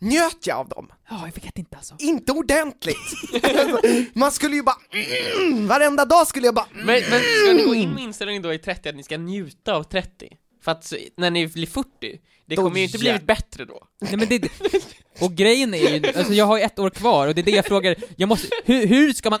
njöt jag av dem?
Ja, jag vet inte alltså.
Inte ordentligt! Man skulle ju bara, mm, varenda dag skulle jag bara, mm.
Men, men ska ni gå in med inställningen då i 30 att ni ska njuta av 30? För att så- när ni blir 40, det
Då
kommer ju inte
jä-
blivit bättre då.
Nej men det... Och grejen är ju, alltså jag har ju ett år kvar och det är det jag frågar, jag måste, hur, hur ska man...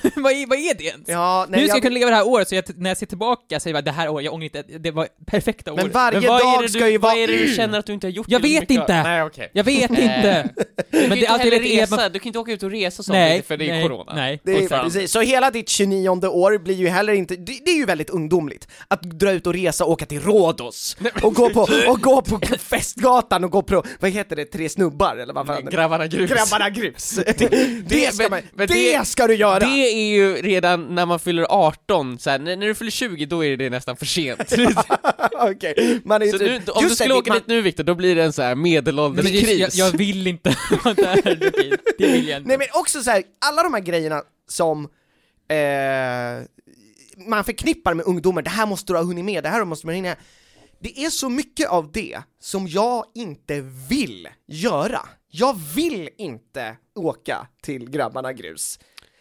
vad, är, vad är det ens?
ja, nej,
hur ska jag
jag,
kunna leva det här året så jag, t- när jag ser tillbaka säger jag bara, det här året, jag ångrar inte, det var perfekta året.
men varje
vad är
dag
det du,
ska ju vara, Mm.
Vad är det du känner att du inte har gjort?
Jag
tillräckligt
vet
mycket
inte.
av? Nej okej. alltså,
Jag vet
Eh,
inte!
Du
men
kan ju
det är
inte
alltid
heller
lite-
resa, du kan inte åka ut och resa och sånt
Nej,
inte för det är
nej,
corona.
nej.
det är,
fortfarande.
precis. Så hela ditt 29 år blir ju heller inte, det, det är ju väldigt ungdomligt, att dra ut och resa och åka till Rhodos och gå på, och gå på festgatan och gå på, vad heter det, tre snubbar eller vad fan det är?
Grabbarna grus.
Grabbarna grus! Det, ska,
men-
man,
men
det,
det-
ska du göra!
Det är ju redan när man fyller 18, så här, när, när du fyller 20 då är det nästan för sent. så
Okej, man är ju
nu,
typ-
om du
just
skulle
det,
åka
man-
dit nu Viktor, då blir det en så här
Nej, men det-
medelålderskris.
jag, jag vill inte vara där, Lukin. det vill jag inte.
Nej men också så här, alla de här grejerna som eh, man förknippar med ungdomar, det här måste du ha hunnit med, det här måste man hinna med. Det är så mycket av det som jag inte vill göra. Jag vill inte åka till Grabbarna Grus.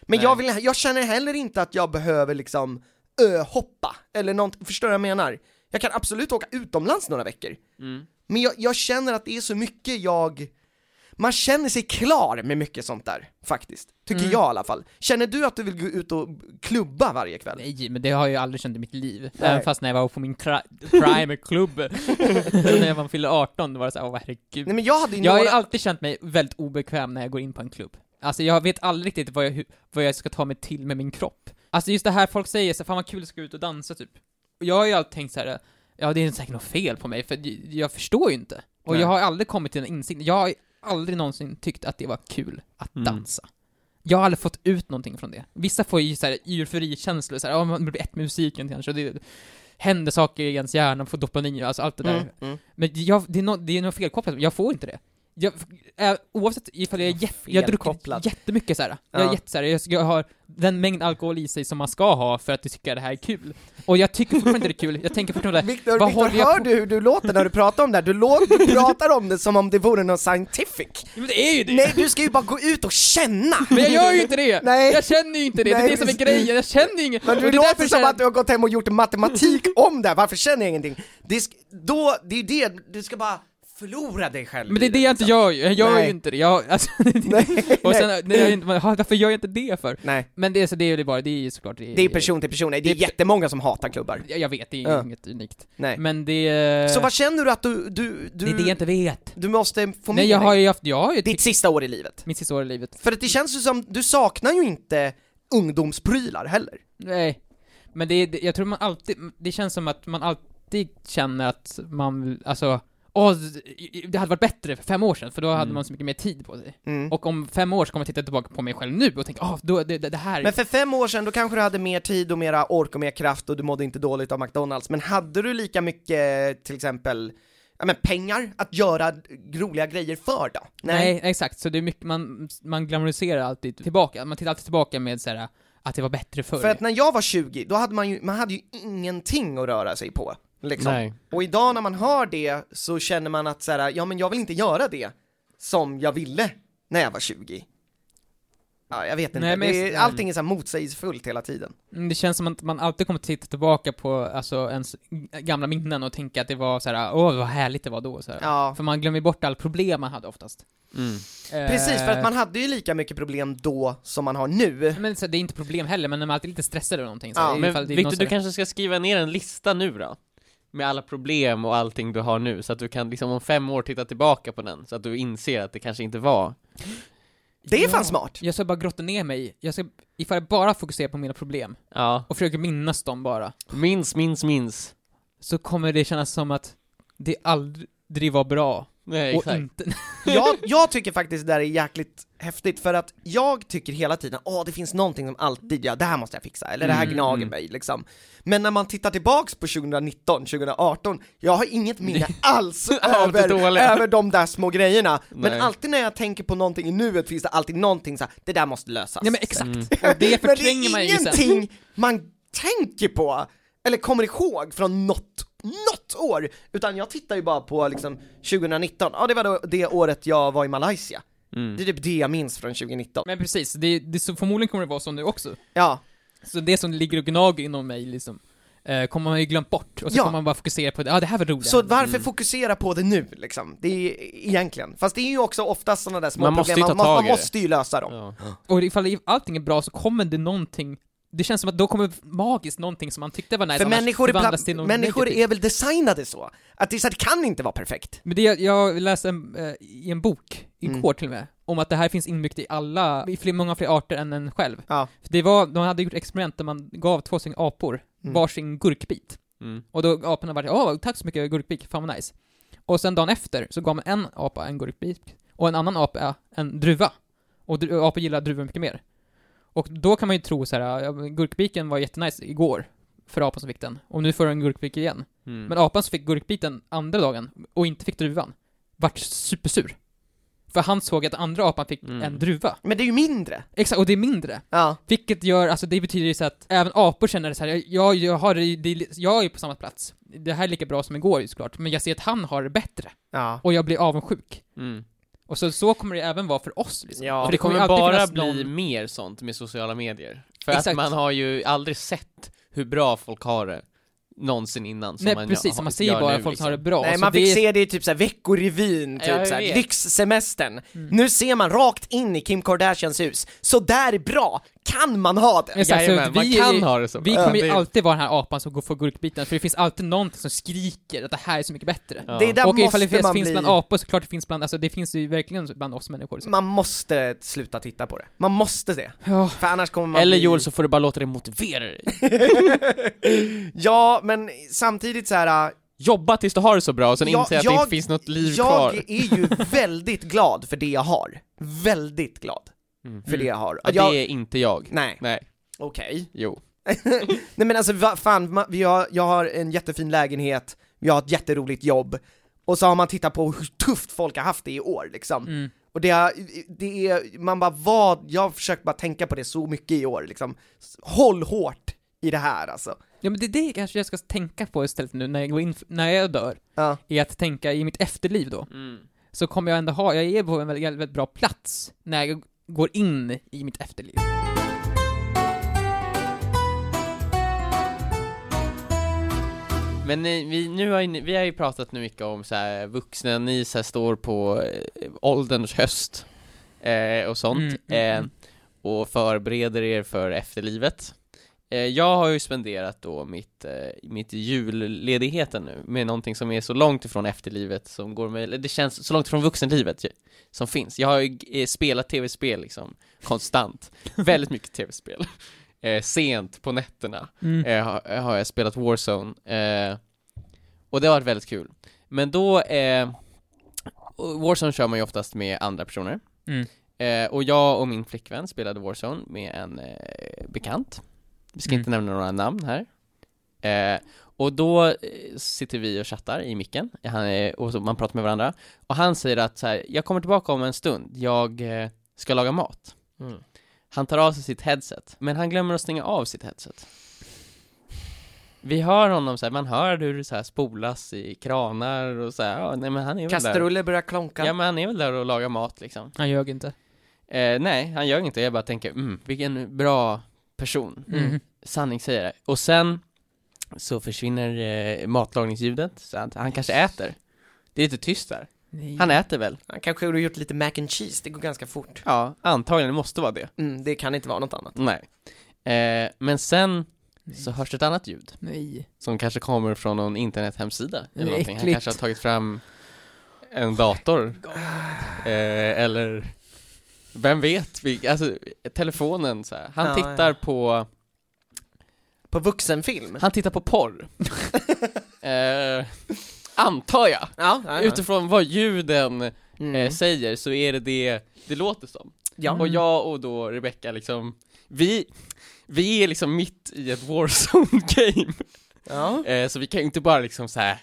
Men jag, vill, jag känner heller inte att jag behöver liksom öhoppa eller något, förstår du vad jag menar? Jag kan
Mm.
absolut åka utomlands några veckor. Men jag, jag känner att det är så mycket jag man känner sig klar med mycket sånt där, faktiskt. Tycker
Mm.
jag i alla fall. Känner du att du vill gå ut och klubba varje kväll?
Nej, men det har jag ju aldrig känt i mitt liv.
Nej.
Även fast när jag var på min tra- prime-klubb, när jag fyllde 18, då var det såhär, åh herregud.
Nej men jag hade ju
jag har ju
några...
alltid känt mig väldigt obekväm när jag går in på en klubb. Alltså jag vet aldrig riktigt vad jag, hu- vad jag ska ta mig till med min kropp. Alltså just det här folk säger så här, fan vad kul det ska gå ut och dansa typ. Och jag har ju alltid tänkt så här, ja det är säkert något fel på mig, för j- jag förstår ju inte. Och
Nej.
jag har aldrig kommit till den insikten, jag har ju aldrig någonsin tyckt att det var kul att
Mm.
dansa. Jag har aldrig fått ut någonting från det. Vissa får ju såhär euforikänslor, såhär, ja man blir ett med musiken kanske, och det händer saker i ens hjärna, man får dopamin, alltså allt det där.
Mm, mm.
Men jag, det är något, det är något felkopplat, jag får inte det. Jag, äh, oavsett ifall jag är jätte, jag har druckit
Felkopplat.
jättemycket såhär, jag
Ja.
är jättesåhär, jag, ska- jag har den mängd alkohol i sig som man ska ha för att tycka det här är kul. Och jag tycker fortfarande inte det är kul, jag tänker fortfarande
Viktor,
vad
Viktor
håller jag
hör
på-
du hur du låter när du pratar om det här? Du, låter, du pratar om det som om det vore något scientific.
Men det är ju det!
Nej, du ska ju bara gå ut och känna!
Men jag gör ju inte det!
Nej.
Jag känner ju inte det, det är
Nej,
det som är
visst.
grejen, jag känner inget!
Men
Och
du
det är
låter
därför
som
jag-
att du har gått hem och gjort matematik om det här, varför känner jag ingenting? Det, sk- då, det är ju det, du ska bara förlora dig själv
Men det är
i liksom.
det jag inte gör ju, jag gör
Nej.
ju inte det, jag, alltså, nej, och sen, nej, jag, inte- varför gör jag inte det för?
Nej,
Men det, är så det är ju det bara, det är ju såklart
det är person till person, Nej, det är
Det-
jättemånga som hatar klubbar.
Jag, jag vet, det är
Ja.
inget unikt.
Nej.
Men det...
Så vad känner du att du, du,
det är det
du,
jag inte vet.
du måste få med
Nej, jag
dig?
har ju haft, jag har ju
Ditt
tyckt
sista år i livet.
mitt sista år i livet.
För att det känns ju som, du saknar ju inte ungdomsprylar heller.
Nej. Men det, är- det jag tror man alltid, det känns som att man alltid känner att man, vill- alltså, åh, det hade varit bättre för fem år sedan, för då hade
Mm.
man så mycket mer tid på sig.
Mm.
Och om fem år så kommer jag titta tillbaka på mig själv nu och tänka, åh, då, det, det, det här är...
Men för fem år sedan, då kanske du hade mer tid och mera ork och mer kraft och du mådde inte dåligt av McDonalds, men hade du lika mycket, till exempel, ja men pengar att göra roliga grejer för då?
Nej, exakt. Så det är mycket, man, man glamoriserar alltid tillbaka, man tittar alltid tillbaka med så här att det var bättre förr.
För att när jag var 20, då hade man ju, man hade ju ingenting att röra sig på. Liksom.
Nej.
Och idag när man hör det så känner man att så här, ja men jag vill inte göra det som jag ville när jag var 20. Ja, jag vet inte.
Nej, men-
det är, allting är så här motsägelsefullt hela tiden.
Mm, Det känns som att man alltid kommer att titta tillbaka på alltså, ens gamla minnen och tänka att det var så här, åh vad härligt det var då. Så här.
Ja.
För man glömmer bort all problem man hade oftast. Eh,
Mm.
Precis, för
Eh.
att man hade ju lika mycket problem då som man har nu.
Men så, här, det är inte problem heller, men man är alltid lite stressad över någonting. Så
Ja,
här,
Men
ifall det är
Victor,
någon så
du
här-
kanske ska skriva ner en lista nu då? Med alla problem och allting du har nu, så att du kan liksom om fem år titta tillbaka på den, så att du inser att det kanske inte var
Det är fan
Ja.
smart.
Jag ska bara grotta ner mig, jag ska, ifall jag bara fokuserar på mina problem
Ja,
och försöker minnas dem bara,
minns, minns, minns
så kommer det kännas som att det aldrig var bra.
Nej,
och
exakt
inte...
jag, jag tycker faktiskt det där är jäkligt häftigt för att jag tycker hela tiden, åh det finns någonting som alltid, ja det här måste jag fixa, eller det här
Mm,
gnager
mm.
mig liksom. Men när man tittar tillbaks på 2019, 2018, jag har inget minne alls
Av det
över,
dåliga.
över de där små grejerna.
Nej.
Men alltid när jag tänker på någonting i nuet finns det alltid någonting så här, det där måste lösas.
Nej men exakt,
Mm.
och det
Men det
förtränger man
är
ju sen.
ingenting man tänker på, eller kommer ihåg från något, något år! Utan jag tittar ju bara på liksom 2019, ja det var då det året jag var i Malaysia.
mm.
Det är typ det jag minns från 2019.
Men precis, det, det, så förmodligen kommer det vara så nu också.
Ja,
Så det som ligger och gnager inom mig liksom, eh, kommer man ju glömt bort, och så
Ja.
kommer man bara fokusera på det, ja ah, det här var roligt.
så varför
mm.
fokusera på det nu liksom? Det är egentligen, fast det är ju också oftast sådana där små
Man måste
problem,
ju ta
man, man,
tag
man
i det.
måste ju lösa dem.
ja.
Och ifall allting är bra så kommer det någonting, det känns som att då kommer magiskt någonting som man tyckte var nice
För
annars
människor, är,
förvandlas till
pla-
något
människor
negativt.
är väl designade så? Att det, är så här, det kan inte vara perfekt.
Men det, jag- jag läste en, eh, i en bok, igår
Mm.
till och med, om att det här finns inbyggt i alla, i fler, många fler arter än en själv.
Ja.
För det var, de hade gjort experiment där man gav två stycken apor
Mm.
varsin gurkbit.
Mm.
Och då aporna var åh, tack så mycket gurkbit, fan vad nice. Och sen dagen efter så gav man en apa en gurkbit och en annan apa en druva. Och dru- apor gillar druvor mycket mer. Och då kan man ju tro så här, ja, men gurkbiken var jättenice igår för apan som fick den. Och nu får den gurkbik igen.
Mm.
Men apan som fick gurkbiten andra dagen och inte fick druvan, vart supersur. För han såg att andra apan fick
Mm.
en druva.
Men det är ju mindre.
Exakt, och det är mindre.
Ja.
Vilket gör, alltså det betyder ju så att även apor känner det så här, jag, jag, har, det, det, jag är på samma plats, det här är lika bra som igår ju såklart, men jag ser att han har det bättre,
Ja.
och jag blir avundsjuk.
Mm.
Och så, så kommer det även vara för oss liksom.
Ja.
och
Och
det
det
kommer
kommer
alltid
bara
finnas
bli
någon-
mer sånt med sociala medier För
Exakt.
att man har ju aldrig sett hur bra folk har det någonsin innan som
Nej
man
precis,
gör,
man ser ju
gör
bara
nu,
att folk
liksom.
har det bra.
Nej,
så
man
det
fick
är-
se det i typ såhär Veckorevyn,
Ja, jag
typ såhär,
vet.
lyxsemestern. Nu ser man rakt in i Kim Kardashians hus, så där är bra kan man ha det!
Men så här, så
Jajamän,
att
man
vi,
kan ha det så.
Vi
Ja,
kommer ju
det är-
alltid vara den här apan som går för gurkbiten, för det finns alltid någonting som skriker att det här är så mycket bättre.
Ja.
Det är där
och ifall
måste
det finns,
man
finns
bli...
bland apor så klart det finns bland, alltså det finns ju verkligen bland oss människor.
Mm.
Så.
Man måste sluta titta på det, man måste det.
Ja.
För annars kommer man
Eller
bli...
Joel så får du bara låta dig motivera dig.
Ja, men samtidigt så här. äh,
Jobba tills du har det så bra och sen
Ja,
inse att det
jag-
inte finns något liv
jag
kvar.
är ju väldigt glad för det jag har. Väldigt glad
Mm.
för det jag har.
Ja,
jag...
Det är inte jag.
Nej,
Nej,
okej.
jo.
Nej men alltså va, fan, ma- vi har, jag har en jättefin lägenhet, jag har ett jätteroligt jobb, och så har man tittat på hur tufft folk har haft det i år liksom.
Mm.
Och det, har- det är, man bara vad, jag har försökt bara tänka på det så mycket i år liksom. Håll hårt i det här alltså.
ja men det är det kanske jag ska tänka på istället nu när jag går in, när jag dör,
Ja.
är att tänka i mitt efterliv då,
Mm.
så kommer jag ändå ha, jag är på en väldigt, väldigt bra plats när jag går in i mitt efterliv.
Men eh, vi, nu har, ju ni- vi har ju pratat nu mycket om så här, vuxna, ni så här, står på eh, ålderns höst eh, och sånt.
Mm, mm,
eh,
mm.
Och förbereder er för efterlivet. Eh, jag har ju spenderat då mitt, eh, mitt julledigheten nu med någonting som är så långt ifrån efterlivet som går med, eller det känns så långt ifrån vuxenlivet ju, som finns. Jag har ju eh, spelat tv-spel liksom konstant, väldigt mycket tv-spel. Eh, sent på nätterna
Mm.
eh, har, har jag spelat Warzone eh, Och det har varit väldigt kul Men då, eh, och Warzone kör man ju oftast med andra personer
Mm.
eh, Och jag och min flickvän spelade Warzone med en eh, bekant Vi ska
Mm.
inte nämna några namn här eh, Och då eh, sitter vi och chattar i micken han, eh, och så man pratar med varandra Och han säger att så här, jag kommer tillbaka om en stund, jag eh, ska laga mat
Mm.
han tar av sig sitt headset, men han glömmer att stänga av sitt headset. Vi hör honom så här, man hör hur det så här spolas i kranar och så här, ja, nej men han är väl där.
Kastruller börjar klonka.
Ja men han är väl där och lagar mat liksom.
Han ljög inte.
Eh, nej, han gör inte Jag bara tänker, mm, vilken bra person.
Mm.
Sanningssägare. Och sen så försvinner eh, matlagningsljudet, så han, han kanske äter. Det är lite tyst där.
Nej.
Han äter väl?
Han kanske har gjort lite mac and cheese, det går ganska fort.
Ja, antagligen, det måste vara det.
Mm, det kan inte vara något annat.
Nej. Eh, men sen
Nej.
så hörs ett annat ljud.
Nej.
Som kanske kommer från någon internethemsida
Det är
eller någonting. Han
äckligt.
kanske har tagit fram en
Oh
dator. Eh, eller vem vet? Vi- Alltså telefonen så här. Han
Ja,
tittar
ja.
på
På vuxenfilm?
Han tittar på porr. eh, antar jag.
Ja, ja, ja.
Utifrån vad ljuden eh,
Mm.
säger så är det det det låter som.
Ja.
Mm.
Och jag och då Rebecca liksom vi, vi är liksom mitt i ett Warzone-game
ja.
Eh, så vi kan ju inte bara liksom så här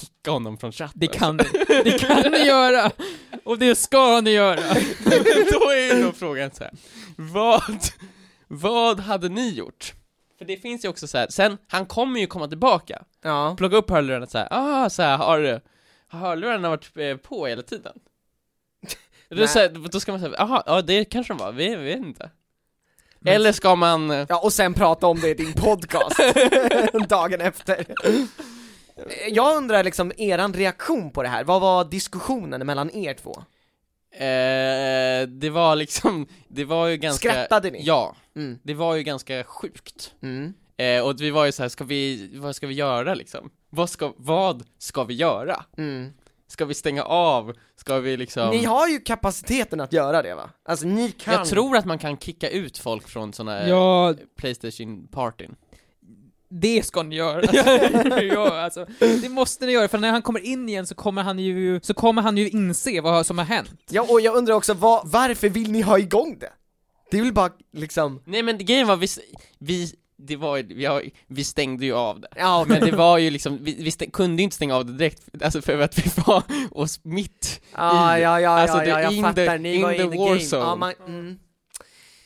kicka honom från chatten.
Det kan ni. Det kan ni göra! Och det ska ni göra!
då är ju då frågan så här. Vad, vad hade ni gjort? För det finns ju också så här, sen, han kommer ju komma tillbaka.
ja.
Plocka upp hörlurarna så här, ah, så här, har, har hörlurarna varit eh, på hela tiden? Då,
Nej.
så här, då ska man säga, aha, ja det kanske de var, vi vi vet inte. Eller ska man, eh,
Ja, och sen prata om det i din podcast dagen efter. Jag undrar liksom eran reaktion på det här, vad var diskussionen mellan er två?
eh, det var liksom, det var ju ganska
Skrattade ni?
Ja,
Mm.
det var ju ganska sjukt.
Mm.
Eh, och vi var ju så här, ska vi, vad ska vi göra liksom? Vad ska, vad ska vi göra?
Mm.
Ska vi stänga av? Ska vi liksom?
Ni har ju kapaciteten att göra det va? Alltså ni kan
Jag tror att man kan kicka ut folk från sådana ja.
Ja,
Playstation-partyn.
det ska ni göra. Alltså, ja, alltså, det måste ni göra, för när han kommer in igen så kommer han ju, så kommer han ju inse vad som har hänt.
ja, och jag undrar också, vad, varför vill ni ha igång det? Det är väl bara liksom,
Nej men grejen var, vi, s- vi, det var, ju- vi, har- vi stängde ju av det.
ja
Men det var ju liksom, vi, vi stäng, kunde ju inte stänga av det direkt, alltså för att vi var oss mitt
ja, ja, ja,
Alltså,
ja,
det
ja,
är
jag
in
fattar,
the-
ni
in
var
the
in the
war
game.
zone.
Ja, man, mm.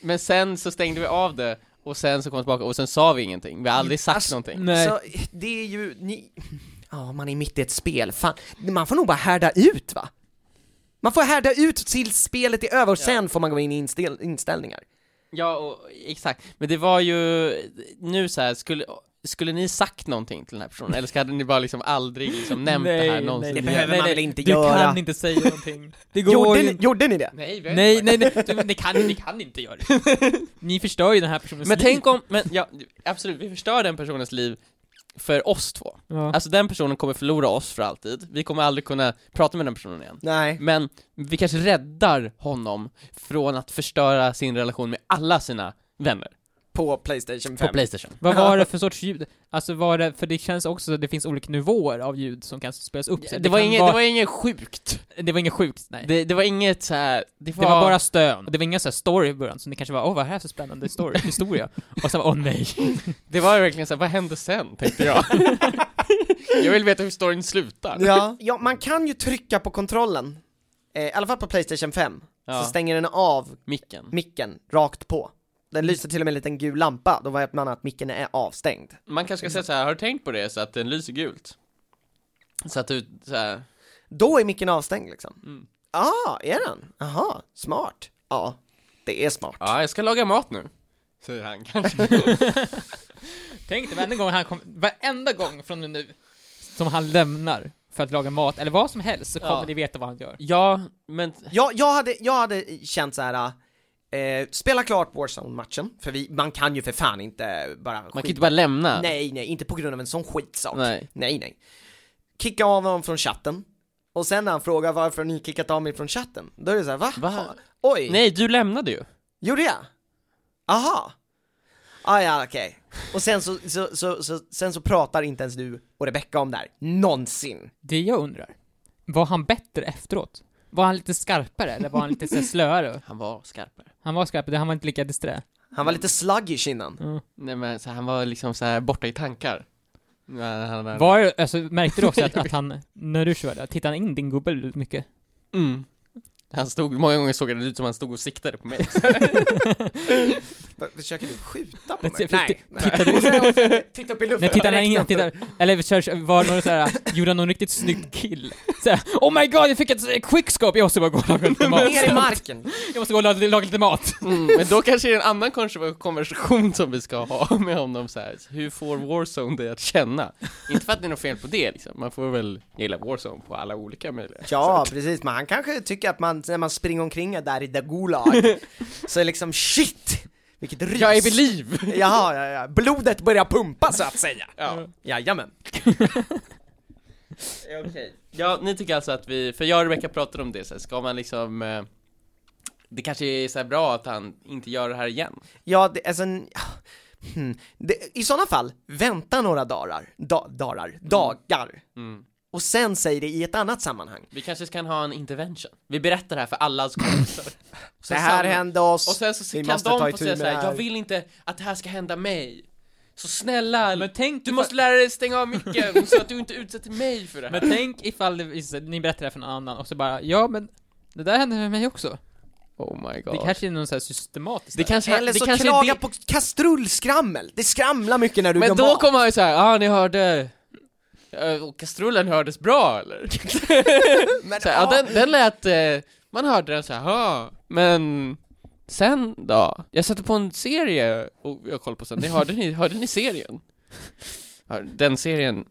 Men sen så stängde vi av det, och sen så kom vi tillbaka, och sen sa vi ingenting, vi har aldrig sagt
Alltså,
någonting
Nej.
Så det är ju, ni, ja man är mitt i ett spel, fan, man får nog bara härda ut va? Man får härda ut tills spelet är över och sen får man gå in i inställ- inställningar.
Ja, och, exakt. Men det var ju, nu så här, skulle, skulle ni sagt någonting till den här personen? Eller hade ni bara liksom aldrig liksom nämnt det här någonsin?
Det behöver man väl inte
du
göra.
Du kan inte säga någonting. Det går
Gjorde
ju
ni,
inte.
gjorde ni det?
Nej, vi har
Nej,
inte
nej, nej, du, ni kan, ni kan inte göra det. Ni förstör ju den här personens
Men
liv.
tänk om, men ja, absolut, vi förstör den personens liv för oss två.
Ja.
Alltså den personen kommer förlora oss för alltid, vi kommer aldrig kunna prata med den personen igen.
Nej.
Men vi kanske räddar honom från att förstöra sin relation med alla sina vänner
På Playstation 5.
på Playstation.
Vad var det för sorts ljud? Alltså var det, för det känns också att det finns olika nivåer av ljud som kan spelas upp. Så
Det, var
kan
inget,
vara-
det var inget sjukt.
det var inget sjukt, nej. Det,
Det, det var inget så här. det var,
var bara stön. Det var ingen så här story i början, så ni kanske var åh vad här är för spännande story, historia. Och sen åh nej.
det var verkligen så här, vad hände sen? Tänkte jag. jag vill veta hur storyn slutar.
Ja. ja, man kan ju trycka på kontrollen. Eh, I alla fall på Playstation 5.
Ja.
Så stänger den av
Micken.
micken rakt på. Den lyser till och med en liten gul lampa, då vet man att micken är avstängd.
Man kanske ska säga så här, har du tänkt på det så att den lyser gult? Så att du så här,
Då är micken avstängd liksom.
Mm.
Ah, är den? Jaha, smart. Ja, det är smart.
ja jag ska laga mat nu. Säger han kanske.
Tänk dig varenda gång han kom, varenda gång från och nu som han lämnar för att laga mat eller vad som helst så kommer
Ja.
ni veta vad han gör.
ja, men
Jag, jag, hade, jag hade känt så här. Eh, spela klart Warzone-matchen, för vi, man kan ju för fan inte bara
man kan ju inte bara lämna.
Nej, nej, inte på grund av en sån skitsak.
Nej.
nej. nej. Kicka av honom från chatten. Och sen när han frågar varför har ni kickat av mig från chatten, då är det så här, va?
Va?
Fan. Oj,
Nej, du lämnade ju.
gjorde jag? Aha. Ah, ja, okej. Och sen så, så, så, så, sen så pratar inte ens du och Rebecca om det här, någonsin.
Det jag undrar, var han bättre efteråt? Var han lite skarpare eller var han lite så här slöare?
Han var skarpare.
Han var skarpare, han var inte lika disträ.
Han var lite sluggish innan.
Nej men så han var liksom så här borta i tankar. Ja, han hade-
Var, det- alltså, märkte du också att, att han, när du körde, tittade han in din gubbe väldigt mycket?
Mm. Han stod, många gånger såg det ut som han stod och siktade på mig.
Försöker du skjuta på
Men se-
mig?
för- tittar du-
Och sen- och sen- Titta upp i luften.
Nej, tittar han in,
Direkt
tittar, eller kör, var det någon såhär, gjorde han någon riktigt snygg kill? Såhär, oh my god jag fick ett eh, quickscope, jag måste bara gå och laga lite
upp.
mat.
Ner i marken.
Jag måste gå och laga, laga lite mat.
Mm, men då kanske det är en annan konver- konversation som vi ska ha med honom så här. Hur får Warzone dig att känna? Inte för att det är något fel på det liksom. Man får väl gilla Warzone på alla olika möjliga
Ja, precis, men han kanske tycker att man, när man springer omkring där i The Gulag, så är liksom shit, vilket rus!
Jag är vid liv!
Jaha, ja, ja. blodet börjar pumpa så att säga!
Ja.
Jajamän!
ja, ni tycker alltså att vi, för jag och Rebecca pratade om det så här, ska man liksom eh, Det kanske är så här bra att han inte gör det här igen?
Ja, det, alltså, n- hmm. det, i sådana fall, vänta några dagar, da, dagar, dagar,
Mm.
och sen säg det i ett annat sammanhang.
Vi kanske kan ha en intervention. Vi berättar det här för allas kompisar. Och
Det
sen
här
samlar-
hände oss,
Och sen så
vi
kan
måste ta
de få
itu
säga
med det
såhär, jag
här.
vill inte att det här ska hända mig. Så snälla,
Men tänk
du
ifall-
måste lära dig stänga av micken så att du inte utsätter mig för det här.
Men tänk ifall det, visar sig- ni berättar det här för någon annan och så bara, ja men det där hände med mig också.
oh my god.
Det kanske är någon sån här systematiskt.
det
där.
kanske,
Eller
det
så
kanske
klaga
är det.
på kastrullskrammel, det skramlar mycket när du gör
Men då
mat.
kommer han ju såhär, ah ni hörde, eh, och kastrullen hördes bra eller?
Men,
Så här, ja,
ja.
den, den lät, eh, man hörde den såhär, ha, men sen då? Jag satte på en serie och jag kollade på sen, ni hörde, ni, hörde ni serien? Hör- Den serien,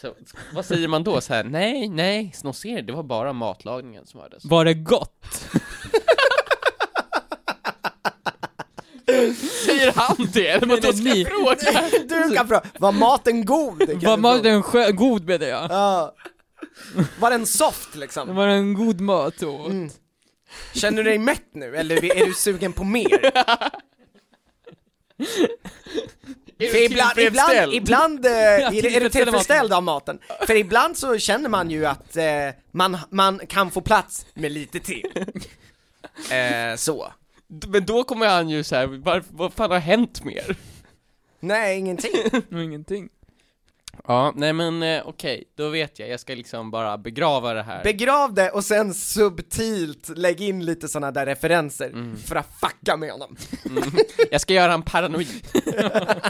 så, vad säger man då? Så här, nej, nej, snosser, det var bara matlagningen som hördes.
Var det gott?
Säger han det? Eller vad
Nej,
då
nej,
ska
ni-
jag fråga?
Du kan fråga, var maten god? Det kan
Var
du fråga.
maten skö- god menar jag?
Ja. Var den soft liksom?
Var det en god mat du åt?
Känner du dig mätt nu eller är du sugen på mer?
Är
För
du
ibland, ibland,
tillfredsställd?
ibland eh, är, är du
tillfredsställer
tillfredsställd av maten? För ibland så känner man ju att eh, man, man kan få plats med lite till. Eh, så.
Men då kommer han ju såhär, varför- vad fan har hänt mer?
Nej, ingenting.
Och ingenting.
Ja, nej men eh, okej, då vet jag. Jag ska liksom bara begrava det här.
Begrav det och sen subtilt lägg in lite sådana där referenser för att fucka med honom.
jag ska göra han paranoid.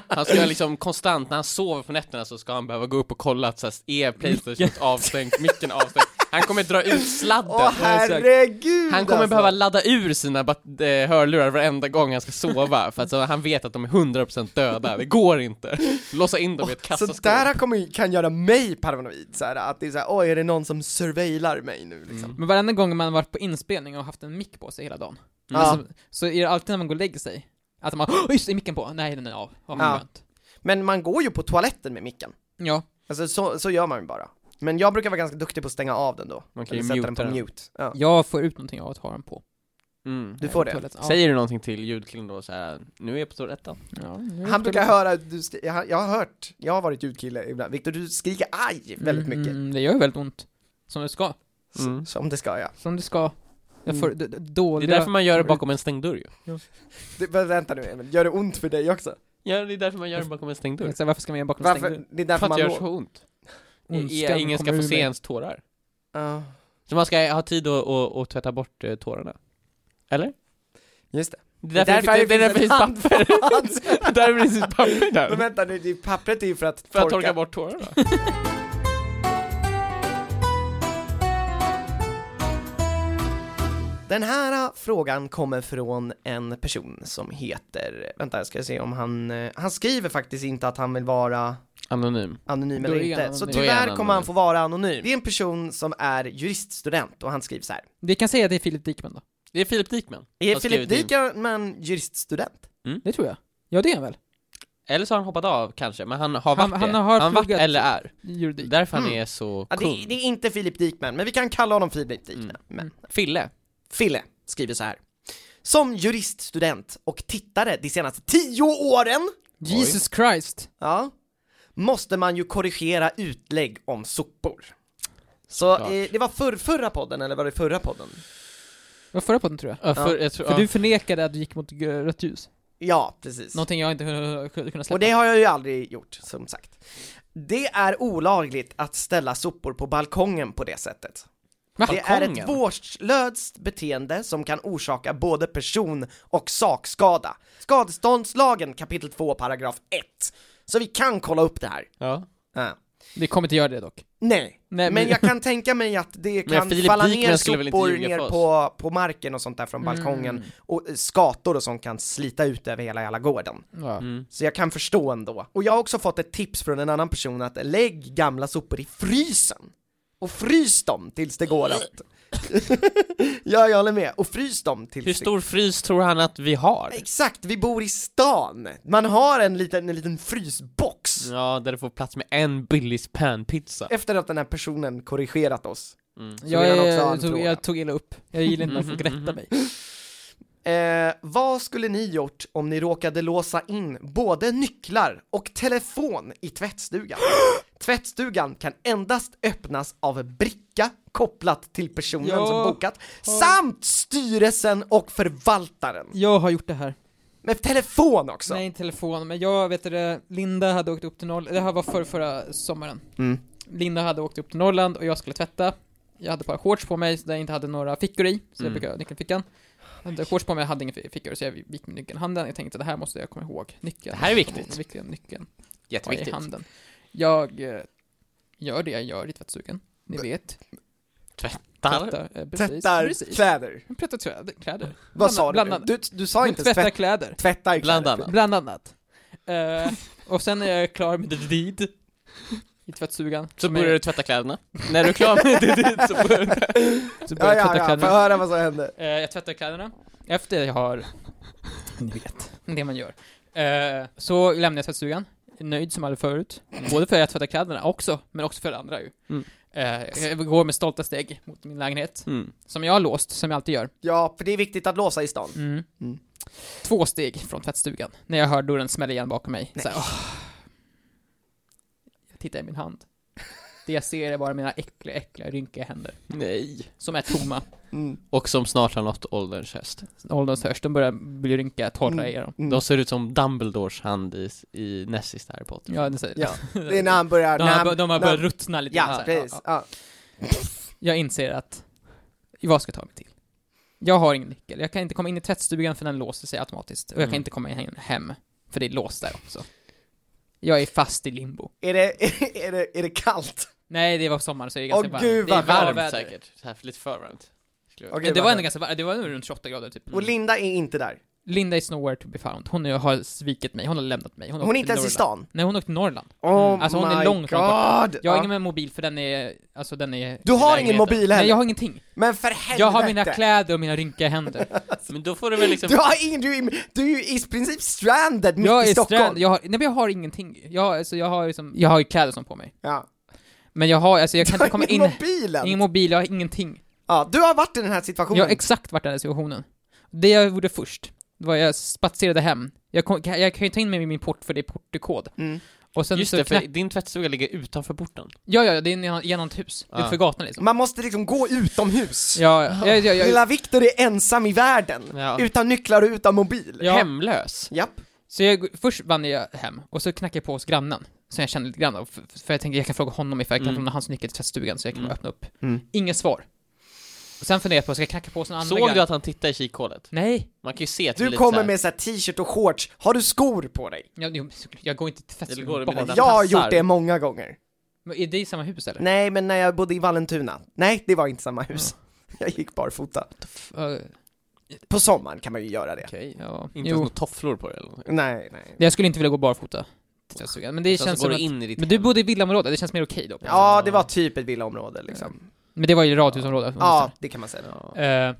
han ska liksom konstant, när han sover på nätterna så ska han behöva gå upp och kolla att så här, är Playstation avstängt, micken avstängd. Han kommer dra ut sladden.
Åh herregud
han kommer
alltså.
behöva ladda ur sina bat- eh, hörlurar varenda gång han ska sova, för att så, han vet att de är 100% döda. Det går inte. Låsa in dem i ett
Så
kassaskåp.
där kommer, ju- kan göra mig paranoid, så här, att det är såhär, oj är det någon som surveillar mig nu liksom?
Men varenda gång man varit på inspelning och haft en mick på sig hela dagen,
Ja.
alltså, så är det alltid när man går och lägger sig, att man oh, just det, är micken på, nej den är av, vad
Ja.
skönt.
Men man går ju på toaletten med micken,
Ja,
alltså så, så gör man ju bara Men jag brukar vara ganska duktig på att stänga av den då,
Man kan
eller
ju
sätta
muta
den på
den.
mute ja.
jag får ut någonting av att ha den på.
Mm.
Du får det?
Toaletten, ja.
Säger du någonting till ljudkillen då så här, nu är jag på toaletten?
Ja, nu är
Han
det-
brukar höra, du, skri- jag, har- jag har hört, jag har varit ljudkille ibland, Viktor du skriker aj väldigt
Mm,
mycket,
mm, det gör ju väldigt ont. Som det ska.
Mm.
S- som det ska jag
Som det ska. Jag
Mm.
får d- d-
Det är
dåliga...
därför man gör det bakom en stängd dörr ju.
det, men Vänta nu Emil, gör det ont för dig också?
Ja, det är därför man gör det bakom en stängd dörr.
Exakt, varför ska man göra bakom en stängd
Varför, det
För
är därför
att
man
det gör
lå- Mm,
så ont.
dörr?
I-
Ondskan
Ingen ska
kommer
få
ur
se
mig.
ens tårar.
Ja,
Så man ska ha tid att, att, att tvätta bort eh, tårarna. Eller?
just det
Det är därför, det, det, är därför det
finns
finns papper.
en handfat.
det är därför det finns papper
Men
där.
vänta nu, det- pappret är ju för att
Äh. För att torka bort tårarna.
Den här ah, frågan kommer från en person som heter, vänta jag ska se om han, eh, han skriver faktiskt inte att han vill vara
Anonym.
anonym
Då är
eller
han
inte,
anonym.
så
Då
är han
tyvärr kommer han
anonym.
få vara anonym. Det är en person som är juriststudent och han skriver så här.
Vi kan säga att det är Filip Dickman då.
Det är Filip Dikman.
Är
Har
Filip
skrivit in.
Dikman juriststudent?
Det tror jag. Ja, det är han väl?
Eller så har han hoppat av kanske, men han har varit
Han-
det.
han har
han varit
pluggat-
eller är.
Juridik.
Därför han
Mm.
är så
Ja,
kung.
det, det är inte Filip Dikman, men vi kan kalla honom Filip Dikman.
Mm.
Men.
Fille.
Fille skriver så här. Som juriststudent och tittare de senaste tio åren
Jesus Christ!
Ja. Måste man ju korrigera utlägg om sopor. Så
Såklart.
eh, det var för, förra podden, eller var det förra podden?
Det var förra podden tror jag.
Ja, för, jag tror,
För
ja.
du förnekade att du gick mot g- rött ljus.
Ja, precis.
Någonting jag inte hade kunnat släppa.
Och det har jag ju aldrig gjort, som sagt. Det är olagligt att ställa sopor på balkongen på det sättet.
Va?
Det är ett vårdslöst beteende som kan orsaka både person och sakskada. Skadeståndslagen kapitel 2 paragraf 1. Så vi kan kolla upp det här.
ja.
Ja.
Vi kommer inte göra det dock.
Nej,
Nej,
men
men-
jag kan tänka mig att det
Men
kan
Filip
falla
Dikmen
ner
skulle väl inte
sopor
ljuga
ner
för oss? Mm.
på, på marken och sånt där från balkongen och eh, skator och sånt kan slita ut över hela hela gården.
Mm.
Ja.
Så jag kan förstå ändå. Och jag har också fått ett tips från en annan person att lägg gamla sopor i frysen och frys dem tills det går åt. ja, jag håller med. Och frys dem tills
Hur
det-
stor frys tror han att vi har?
Exakt, vi bor i stan. Man har en liten, en liten frysbox
Ja, där det får plats med en Billys panpizza.
efter att den här personen korrigerat oss.
Mm.
Så
Jag,
vill han också ha
jag,
en
tog,
fråga.
jag tog illa upp. Jag gillar inte att folk rättar mig.
Eh, vad skulle ni gjort om ni råkade låsa in både nycklar och telefon i tvättstugan? Tvättstugan kan endast öppnas av en bricka kopplat till personen
Ja.
som bokat, samt styrelsen och förvaltaren.
Jag har gjort det här.
Med telefon också!
Nej, inte telefon, men jag vet det, Linda hade åkt upp till Norrland, det här var förra, förra sommaren.
Mm.
Linda hade åkt upp till Norrland och jag skulle tvätta. Jag hade ett par shorts på mig så där jag inte hade några fickor i,
Mm.
så jag brukar ha nyckeln i fickan. Jag hade shorts på mig, jag hade inga fi- fickor, så jag gick med nyckeln i handen. Jag tänkte det här måste jag komma ihåg. Nyckeln.
Det här är viktigt.
Nyckeln, nyckeln. var i
Jätteviktigt.
handen. Jag eh, gör det jag gör i tvättstugan. Ni vet.
Tvättar.
eh, precis.
Tvättar
precis.
kläder.
Jag Tvättar kläder. kläder.
Vad sa du,
bland
nu?
annat.
du? Du sa inte
Tvättar
tvätt,
kläder.
tvättar
Bland
kläder.
annat.
Bland annat. Eh, och sen är jag klar med rid i tvättstugan.
Så
Som är-
börjar du tvätta kläderna. När du är klar med det dit så börjar du.
så börjar
Ja,
jag
ja,
tvätta
ja, få
kläderna.
höra vad som hände.
Eh, jag tvättar kläderna. Efter jag har... Ni vet. Det man gör. Eh, så lämnar jag tvättstugan. Nöjd som aldrig förut. Både för att jag tvättar kläderna också, men också för det andra ju.
Mm.
Eh, jag går med stolta steg mot min lägenhet.
Mm.
Som jag har låst, som jag alltid gör.
Ja, för det är viktigt att låsa i stan. Mm.
Två steg från tvättstugan, när jag hör dörren smälla igen bakom mig. Så här, åh. Jag tittar i min hand. Det jag ser är bara mina äckliga, äckliga, rynkiga händer.
Nej.
Som är tomma.
Mm.
Och som snart har nått ålderns höst.
Ålderns hörs, de börjar bli rynkiga,
Mm.
torra i dem.
De ser ut som Dumbledores hand i, i näst sista Harry Potter.
Ja, det säger
Ja, det är när han börjar...
de,
när
har,
han,
bör- de har
när han-
börjat ruttna lite. grann
Ja,
så här.
precis.
Ja,
Ja.
ja. Jag inser att, vad ska jag ta mig till? Jag har ingen nyckel, jag kan inte komma in i tvättstugan för den låser sig automatiskt. Och jag kan
Mm.
inte komma in hem, för det är låst där också. Jag är fast i limbo.
Är det, är, det, är det kallt?
Nej, det var sommar så det är
Åh,
ganska varmt.
gud,
det är
vad
bra
Varmt
väder.
säkert, så här, lite för varmt. skulle jag-
Okej,
Men det
vad
var
skönt.
ändå ganska varmt, det var nog runt 28 grader typ.
Och Linda är inte där.
Linda is nowhere to be found. Hon är- har svikit mig, hon har lämnat mig. har
Hon
åkt
är inte
till
ens i
Norrland.
stan.
Nej, hon har åkt till Norrland.
Oh
Alltså, hon är
my
långt, långt borta.
god!
Jag
Ja.
har ingen med mobil för den är, alltså den är...
Du har ingen
lägenheten.
mobil
Nej,
heller.
jag har ingenting.
Men för helvete!
Jag har mina kläder och mina rynkiga händer.
Men då får du väl liksom...
Du har ingen, du är, du är ju i princip stranded mitt
jag
i
är
Stockholm!
strand, jag har, nej men jag har ingenting. Jag, har- alltså, jag har liksom, jag har ju kläder som på mig.
Ja.
Men jag har, alltså jag kan
Du
inte komma
har
in.
ingen mobilen!
Ingen mobil, jag har ingenting.
Ja, du har varit i den här situationen.
Jag har exakt varit i den här situationen. Det jag gjorde först, det var jag spatserade hem. Jag, kom, jag kan ju ta in mig min port för det är portkod.
Mm.
Och sen
Just
så
det, för
knack,
din tvättstuga ligger utanför porten.
ja, ja, det är genom- genom ett hus,
Ah.
utför gatan liksom.
Man måste liksom gå utomhus.
Ja, ja, ja, ja, ja,
Lilla Viktor är ensam i världen,
Ja.
utan nycklar och utan mobil.
ja.
Hemlös.
Japp.
Så jag, först vann jag hem, och så knackade jag på hos grannen, som jag kände lite grann av, för, för jag tänkte jag kan fråga honom ifall jag kan
Mm.
lämna hans nyckel till tvättstugan så jag kan
Mm.
öppna upp.
Mm.
Inget svar. Och sen funderade jag på, ska jag knacka på hos någon annan
Såg
granne?
du att han tittade i kikhålet?
Nej!
Man kan ju se att det är
Du
Mm.
lite
kommer
såhär-
med så här t-shirt och shorts, har du skor på dig?
Jag, jag, jag går inte till
Eller går
tvättstugan
du
bara.
med den?
jag har
passar.
gjort det många gånger.
Men Är det i samma hus eller?
Nej, men när jag bodde i Vallentuna. Nej, det var inte samma hus.
Mm.
Jag gick barfota.
Uh,
På sommaren kan man ju göra det.
Okej.
ja.
Inte
jo.
ens några tofflor på det eller något.
Nej, nej.
Jag skulle inte vilja gå barfota till tvättstugan, men det
Sen
känns
så går
som
du
att...
in i ditt
Men du
hem.
bodde i villaområde, det känns mer okej då?
Ja, det var typ ett villaområde liksom.
Men det var ju radhusområde. om
Ja, det kan man säga.
Ja.
det stämmer. Eh,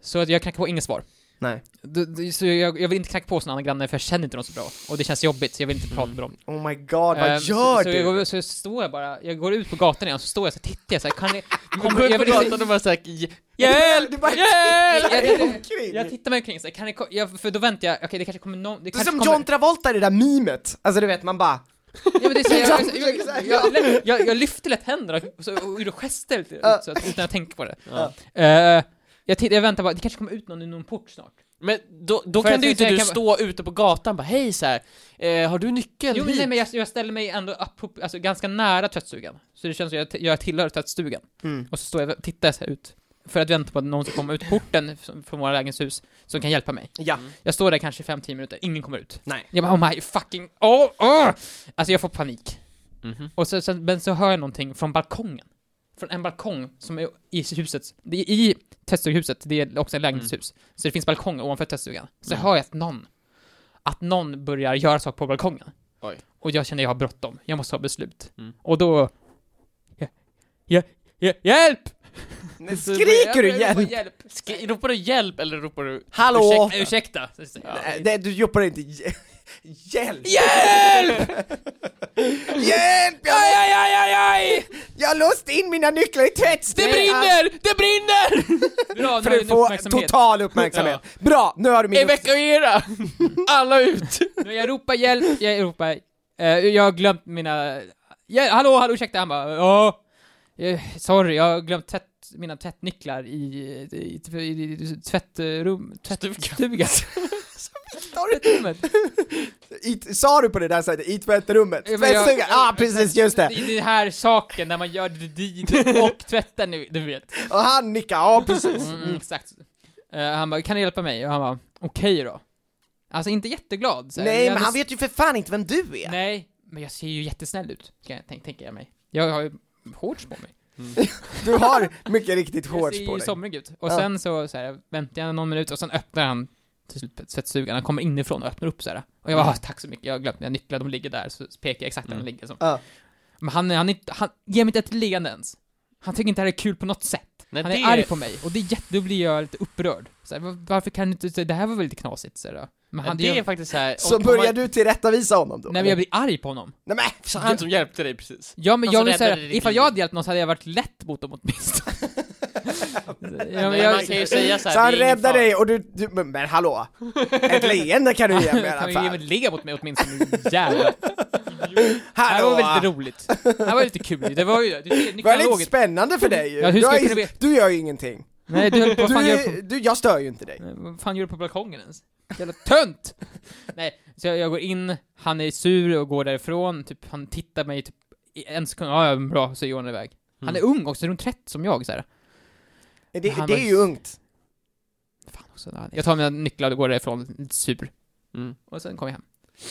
så att jag knackade på, inget svar.
Nej.
Du- du- Så jag, jag vill inte knacka på såna andra grannar för jag känner inte dem så bra. Och det känns jobbigt, så jag vill inte prata med dem.
Oh my god,
Eh,
vad gör
så,
du?
Så, jag går, så står jag bara, jag går ut på gatan igen, så står jag så här, tittar jag så här, kan ni...
Du går ut på
jag,
gatan och bara såhär, "J-
Hjälp!
Du bara
Hjälp!
tittar
Jag- jag-
omkring.
jag tittar mig omkring så här, kan ni ko- jag, för då väntar jag, okej det kanske kommer någon... Det
Det är
kanske
som
kommer,
John Travolta i det där mimet. Alltså du vet, man bara...
Ja, men det är så, jag,
John
jag,
försöker säga.
jag, jag, jag, jag lyfter lätt händerna och, så, och gjorde gester lite, så att, utan att tänka på det.
Ja.
Eh, jag, tittar, jag väntar bara, det kanske kommer ut någon i någon port snart.
Men då, då
Får
kan
jag
du ju inte
säga-
du
kan-
stå ute på gatan bara hej såhär, eh, har du nyckeln
Jo men
hit?"
nej men jag, jag ställer mig ändå upp, alltså, ganska nära tvättstugan. Så det känns som jag, jag tillhör tvättstugan.
Mm.
Och så står jag och tittar så här ut. För att vänta på att någon ska komma ut porten från från våra lägenhetshus som kan hjälpa mig.
Ja.
Jag står där kanske i 5-10 minuter, ingen kommer ut.
Nej.
Jag bara oh my fucking, oh, oh! Alltså jag får panik.
Mhm.
Och så, sen, men så hör jag någonting från balkongen. Från en balkong som är i huset, det är i tvättstughuset, det är också ett lägenhetshus. Så det finns balkonger ovanför tvättstugan. Så hör jag att någon, att någon börjar göra saker på balkongen.
Oj.
Och jag känner jag har bråttom, jag måste ha beslut.
Mm.
Och då... Ja, ja, ja, hjälp!
Men
Så
Skriker
börjar
du
jag- jag ropar
igen?
hjälp?
Sk- ropar du hjälp eller ropar du
Hallå?
Ursäkta, ursäkta! Så säger jag.
Nej, nej, du ropar inte "Hj- hjälp!
Hjälp!
Hjälp!
Aj,
Jag,
aj, aj, aj, aj!
jag har låst in mina nycklar i
Det
tvättstugan!
brinner! Det brinner! Bra, nu
För
har
att
vi en
få
uppmärksamhet.
total uppmärksamhet. Bra, nu har du min...
Evakuera! Alla ut!
Nu jag ropar hjälp, jag ropar... eh, jag har glömt mina... Ja, hallå, hallå, ursäkta! Han bara ja... eh, sorry, jag har glömt tvätt, mina tvättnycklar i, i, i, i, i tvättrum... Tvättstugan. Tvättrummet.
I, sa du på det där sättet, i tvättrummet?
Ja, men jag-
Tvättstugan? ah, precis, just det!
Det är den här saken när man gör det dit och tvättar nu, du vet.
Och han nickar, ja ah, precis.
Mm, mm, exakt. Eh, han bara, kan du hjälpa mig? Och han bara, okej då. Alltså inte jätteglad. så här.
Nej,
Jag
men
hade
han vet ju för fan inte vem du är.
Nej, men jag ser ju jättesnäll ut, kan jag, tänk, tänker jag mig. Jag har ju shorts på mig.
Du har mycket riktigt
Jag
shorts
ser
på
ju
dig.
somrig ut. Och
Ja.
sen så, så här, väntar jag någon minut och sen öppnar han till slut tvättstugan. Han kommer inifrån och öppnar upp så här. Och jag bara, ah, tack så mycket, jag har glömt mina nycklar, de ligger där. Så pekar jag exakt där de ligger. Så.
Ja.
Men han, han, är inte- han ger mig inte ett leende ens. Han tycker inte det här är kul på något sätt.
Nej,
han
det-
är arg på mig och det är jätte, då blir jag lite upprörd. Så här, "Var- varför kan du inte, så här, det här var väl lite knasigt så här, då. Men han,
det är faktiskt såhär,
Så börjar du tillrättavisa honom då?
Nej men jag blir arg på honom.
Nej men!
han som hjälpte dig precis.
Ja men
Alltså,
jag vill
räddade
säga,
ditt
ifall
liv.
jag hade hjälpt någon så hade jag varit lätt mot dem åtminstone. ja, men
Nej, man
jag,
kan ju säga
Så
såhär,
han
"Det är ingen
räddar
fara."
dig och du, du men, men hallå! Ett leende kan du ge mig i
kan
alla
ju ge mig
fall.
le mot mig åtminstone, jävlar. Det här var väldigt
Hallå!
roligt. Det här var lite kul Det var ju, du ser,
Det var lite
nykterologet.
spännande för dig ju.
Ja, hur
du,
ska
har
jag
ju-
kunna veta?
du gör ju ingenting.
Nej du höll på, vad fan gör du på
Du, du, jag stör ju inte dig.
Nej, Vad fan gör du på balkongen ens? Jävla tönt! Nej, så jag, jag går in, han är sur och går därifrån, typ, han tittar mig typ i en sekund, ja ja, bra, så går han iväg.
Mm.
Han är ung också, runt 30 som jag så här.
Det,
Han
det
var-
är ju ungt.
Fan också, nej. jag tar mina nycklar och går därifrån, lite sur.
Mm.
Och sen kommer jag hem.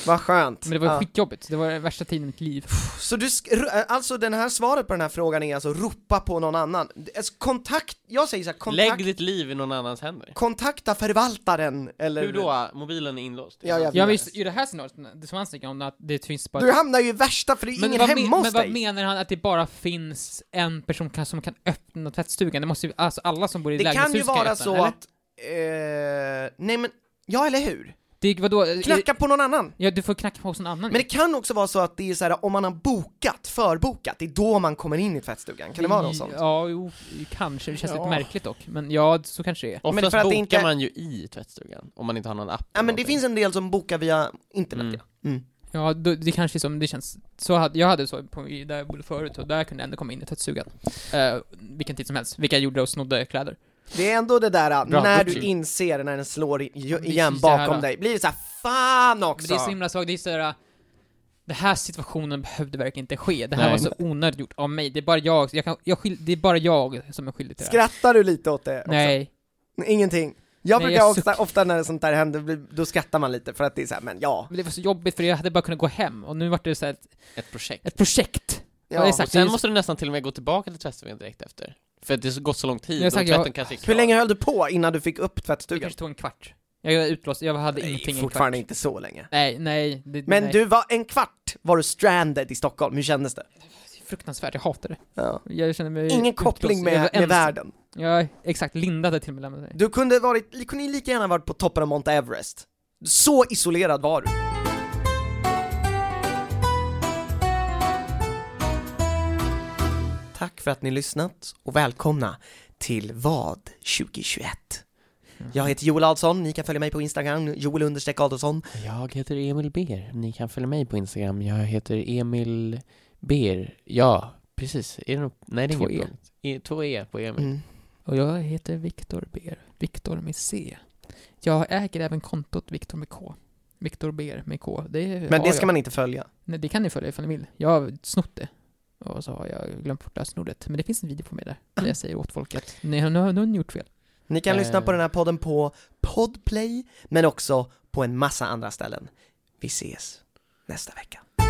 Vad skönt.
Men det var
Ja.
skitjobbigt, det var den värsta tiden i mitt liv.
Så du, sk- ru- alltså den här svaret på den här frågan är alltså ropa på någon annan. Alltså, kontakt, jag säger så här, kontakt,
Lägg ditt liv i någon annans händer.
kontakta förvaltaren eller...
Hur då? Mobilen är inlåst. liksom.
Ja, jag
Ja men
vet.
just i det här scenariot, det som han snackar om, att det finns bara...
Du hamnar ju i värsta för det är
men
ingen
vad,
hemma
men,
hos
men vad
dig.
menar han att det bara finns en person kan, som kan öppna tvättstugan? Det måste ju, alltså alla som bor i
Det kan ju
lägenhetshus kan
vara
öppna,
så
eller?
att, eh, nej men, ja eller hur?
Det, vadå? Är-
Knacka på någon annan.
Ja, du får knacka på hos någon annan.
Men det kan också vara så att det är så här om man har bokat, förbokat, det är då man kommer in i tvättstugan. Kan det vara något sånt?
Ja, jo, kanske. Det känns
Ja.
lite märkligt dock. Men ja, så kanske det är.
Oftast
Men för att det
bokar
inte-
man ju i tvättstugan, om man inte har någon app.
Ja
eller
men det
någonting.
finns en del som bokar via internet
Mm.
ja. Mm.
Ja, då, det kanske är som, det känns, så hade, jag hade så på, i- där jag bodde förut, och där kunde jag ändå komma in i tvättstugan. Uh, vilken tid som helst, vilka jag gjorde och snodde kläder.
Det är ändå det där äh,
Bra,
när
Gucci.
du inser när den slår i- ju-
Det är
igen
precis det här,
bakom
då.
dig, blir det så här fan
Men
också!
det är så himla svagt, det är såhär, den här situationen behövde verkligen inte ske, det här
Nej.
var så onödigt gjort av mig, det är bara jag, jag, kan, jag skyll, det är bara jag som är skyldig till det här.
Skrattar du lite åt det? också?
Nej,
Ingenting? Jag
Nej,
brukar
jag
ofta, ofta när sånt där händer, bli- då skrattar man lite för att det är såhär, men ja,
men det var så jobbigt för jag hade bara kunnat gå hem, och nu vart det såhär ett,
ett projekt.
ett projekt.
ja.
det är
Och
sagt,
sen
så-
måste du nästan till och med gå tillbaka till tvättstugan direkt efter. För att det har gått så lång tid
Jag har
och
sagt,
tvätten
jag-
kanske är klar.
Hur länge höll du på innan du fick upp
Det
tvättstugan?
kanske tog en kvart. Jag var utlåst, jag hade ingenting i en kvart.
fortfarande inte så länge.
Nej, nej. Det,
Men
nej.
du var, en kvart var du stranded i Stockholm, hur kändes det?
Fruktansvärt, jag hatar det.
Ja.
Jag känner mig
Ingen
utlåst.
koppling
Jag var
med, med
ensam.
världen.
Ja, exakt. Linda hade till och med lämnat mig.
Du kunde varit, li- kunde lika gärna varit på toppen av Mount Everest. Så isolerad var du. Tack för att ni lyssnat och välkomna till vad 2021. Jag heter Joel Adolfsson, ni kan följa mig på Instagram, joel understreck Adolfsson.
Jag heter Emil Ber. Ni kan följa mig på Instagram. Jag heter Emil Ber. Ja, precis. Är det nog... Nej, det är
Två
inget
E.
punkt. E. Två E på Emil.
Mm.
Och jag heter Viktor Ber. Viktor med C. Jag äger även kontot Viktor med K. Viktor Ber med K. Det
Men
har
det ska
jag.
man inte följa.
Nej, det kan ni följa ifall ni vill. Jag har snott det. Och så har jag glömt bort det här snordet. Men det finns en video på mig där. Där jag säger åt folk att nej, nu har nu har ni gjort fel.
Ni kan
Eh.
lyssna på den här podden på Podplay, men också på en massa andra ställen. Vi ses nästa vecka.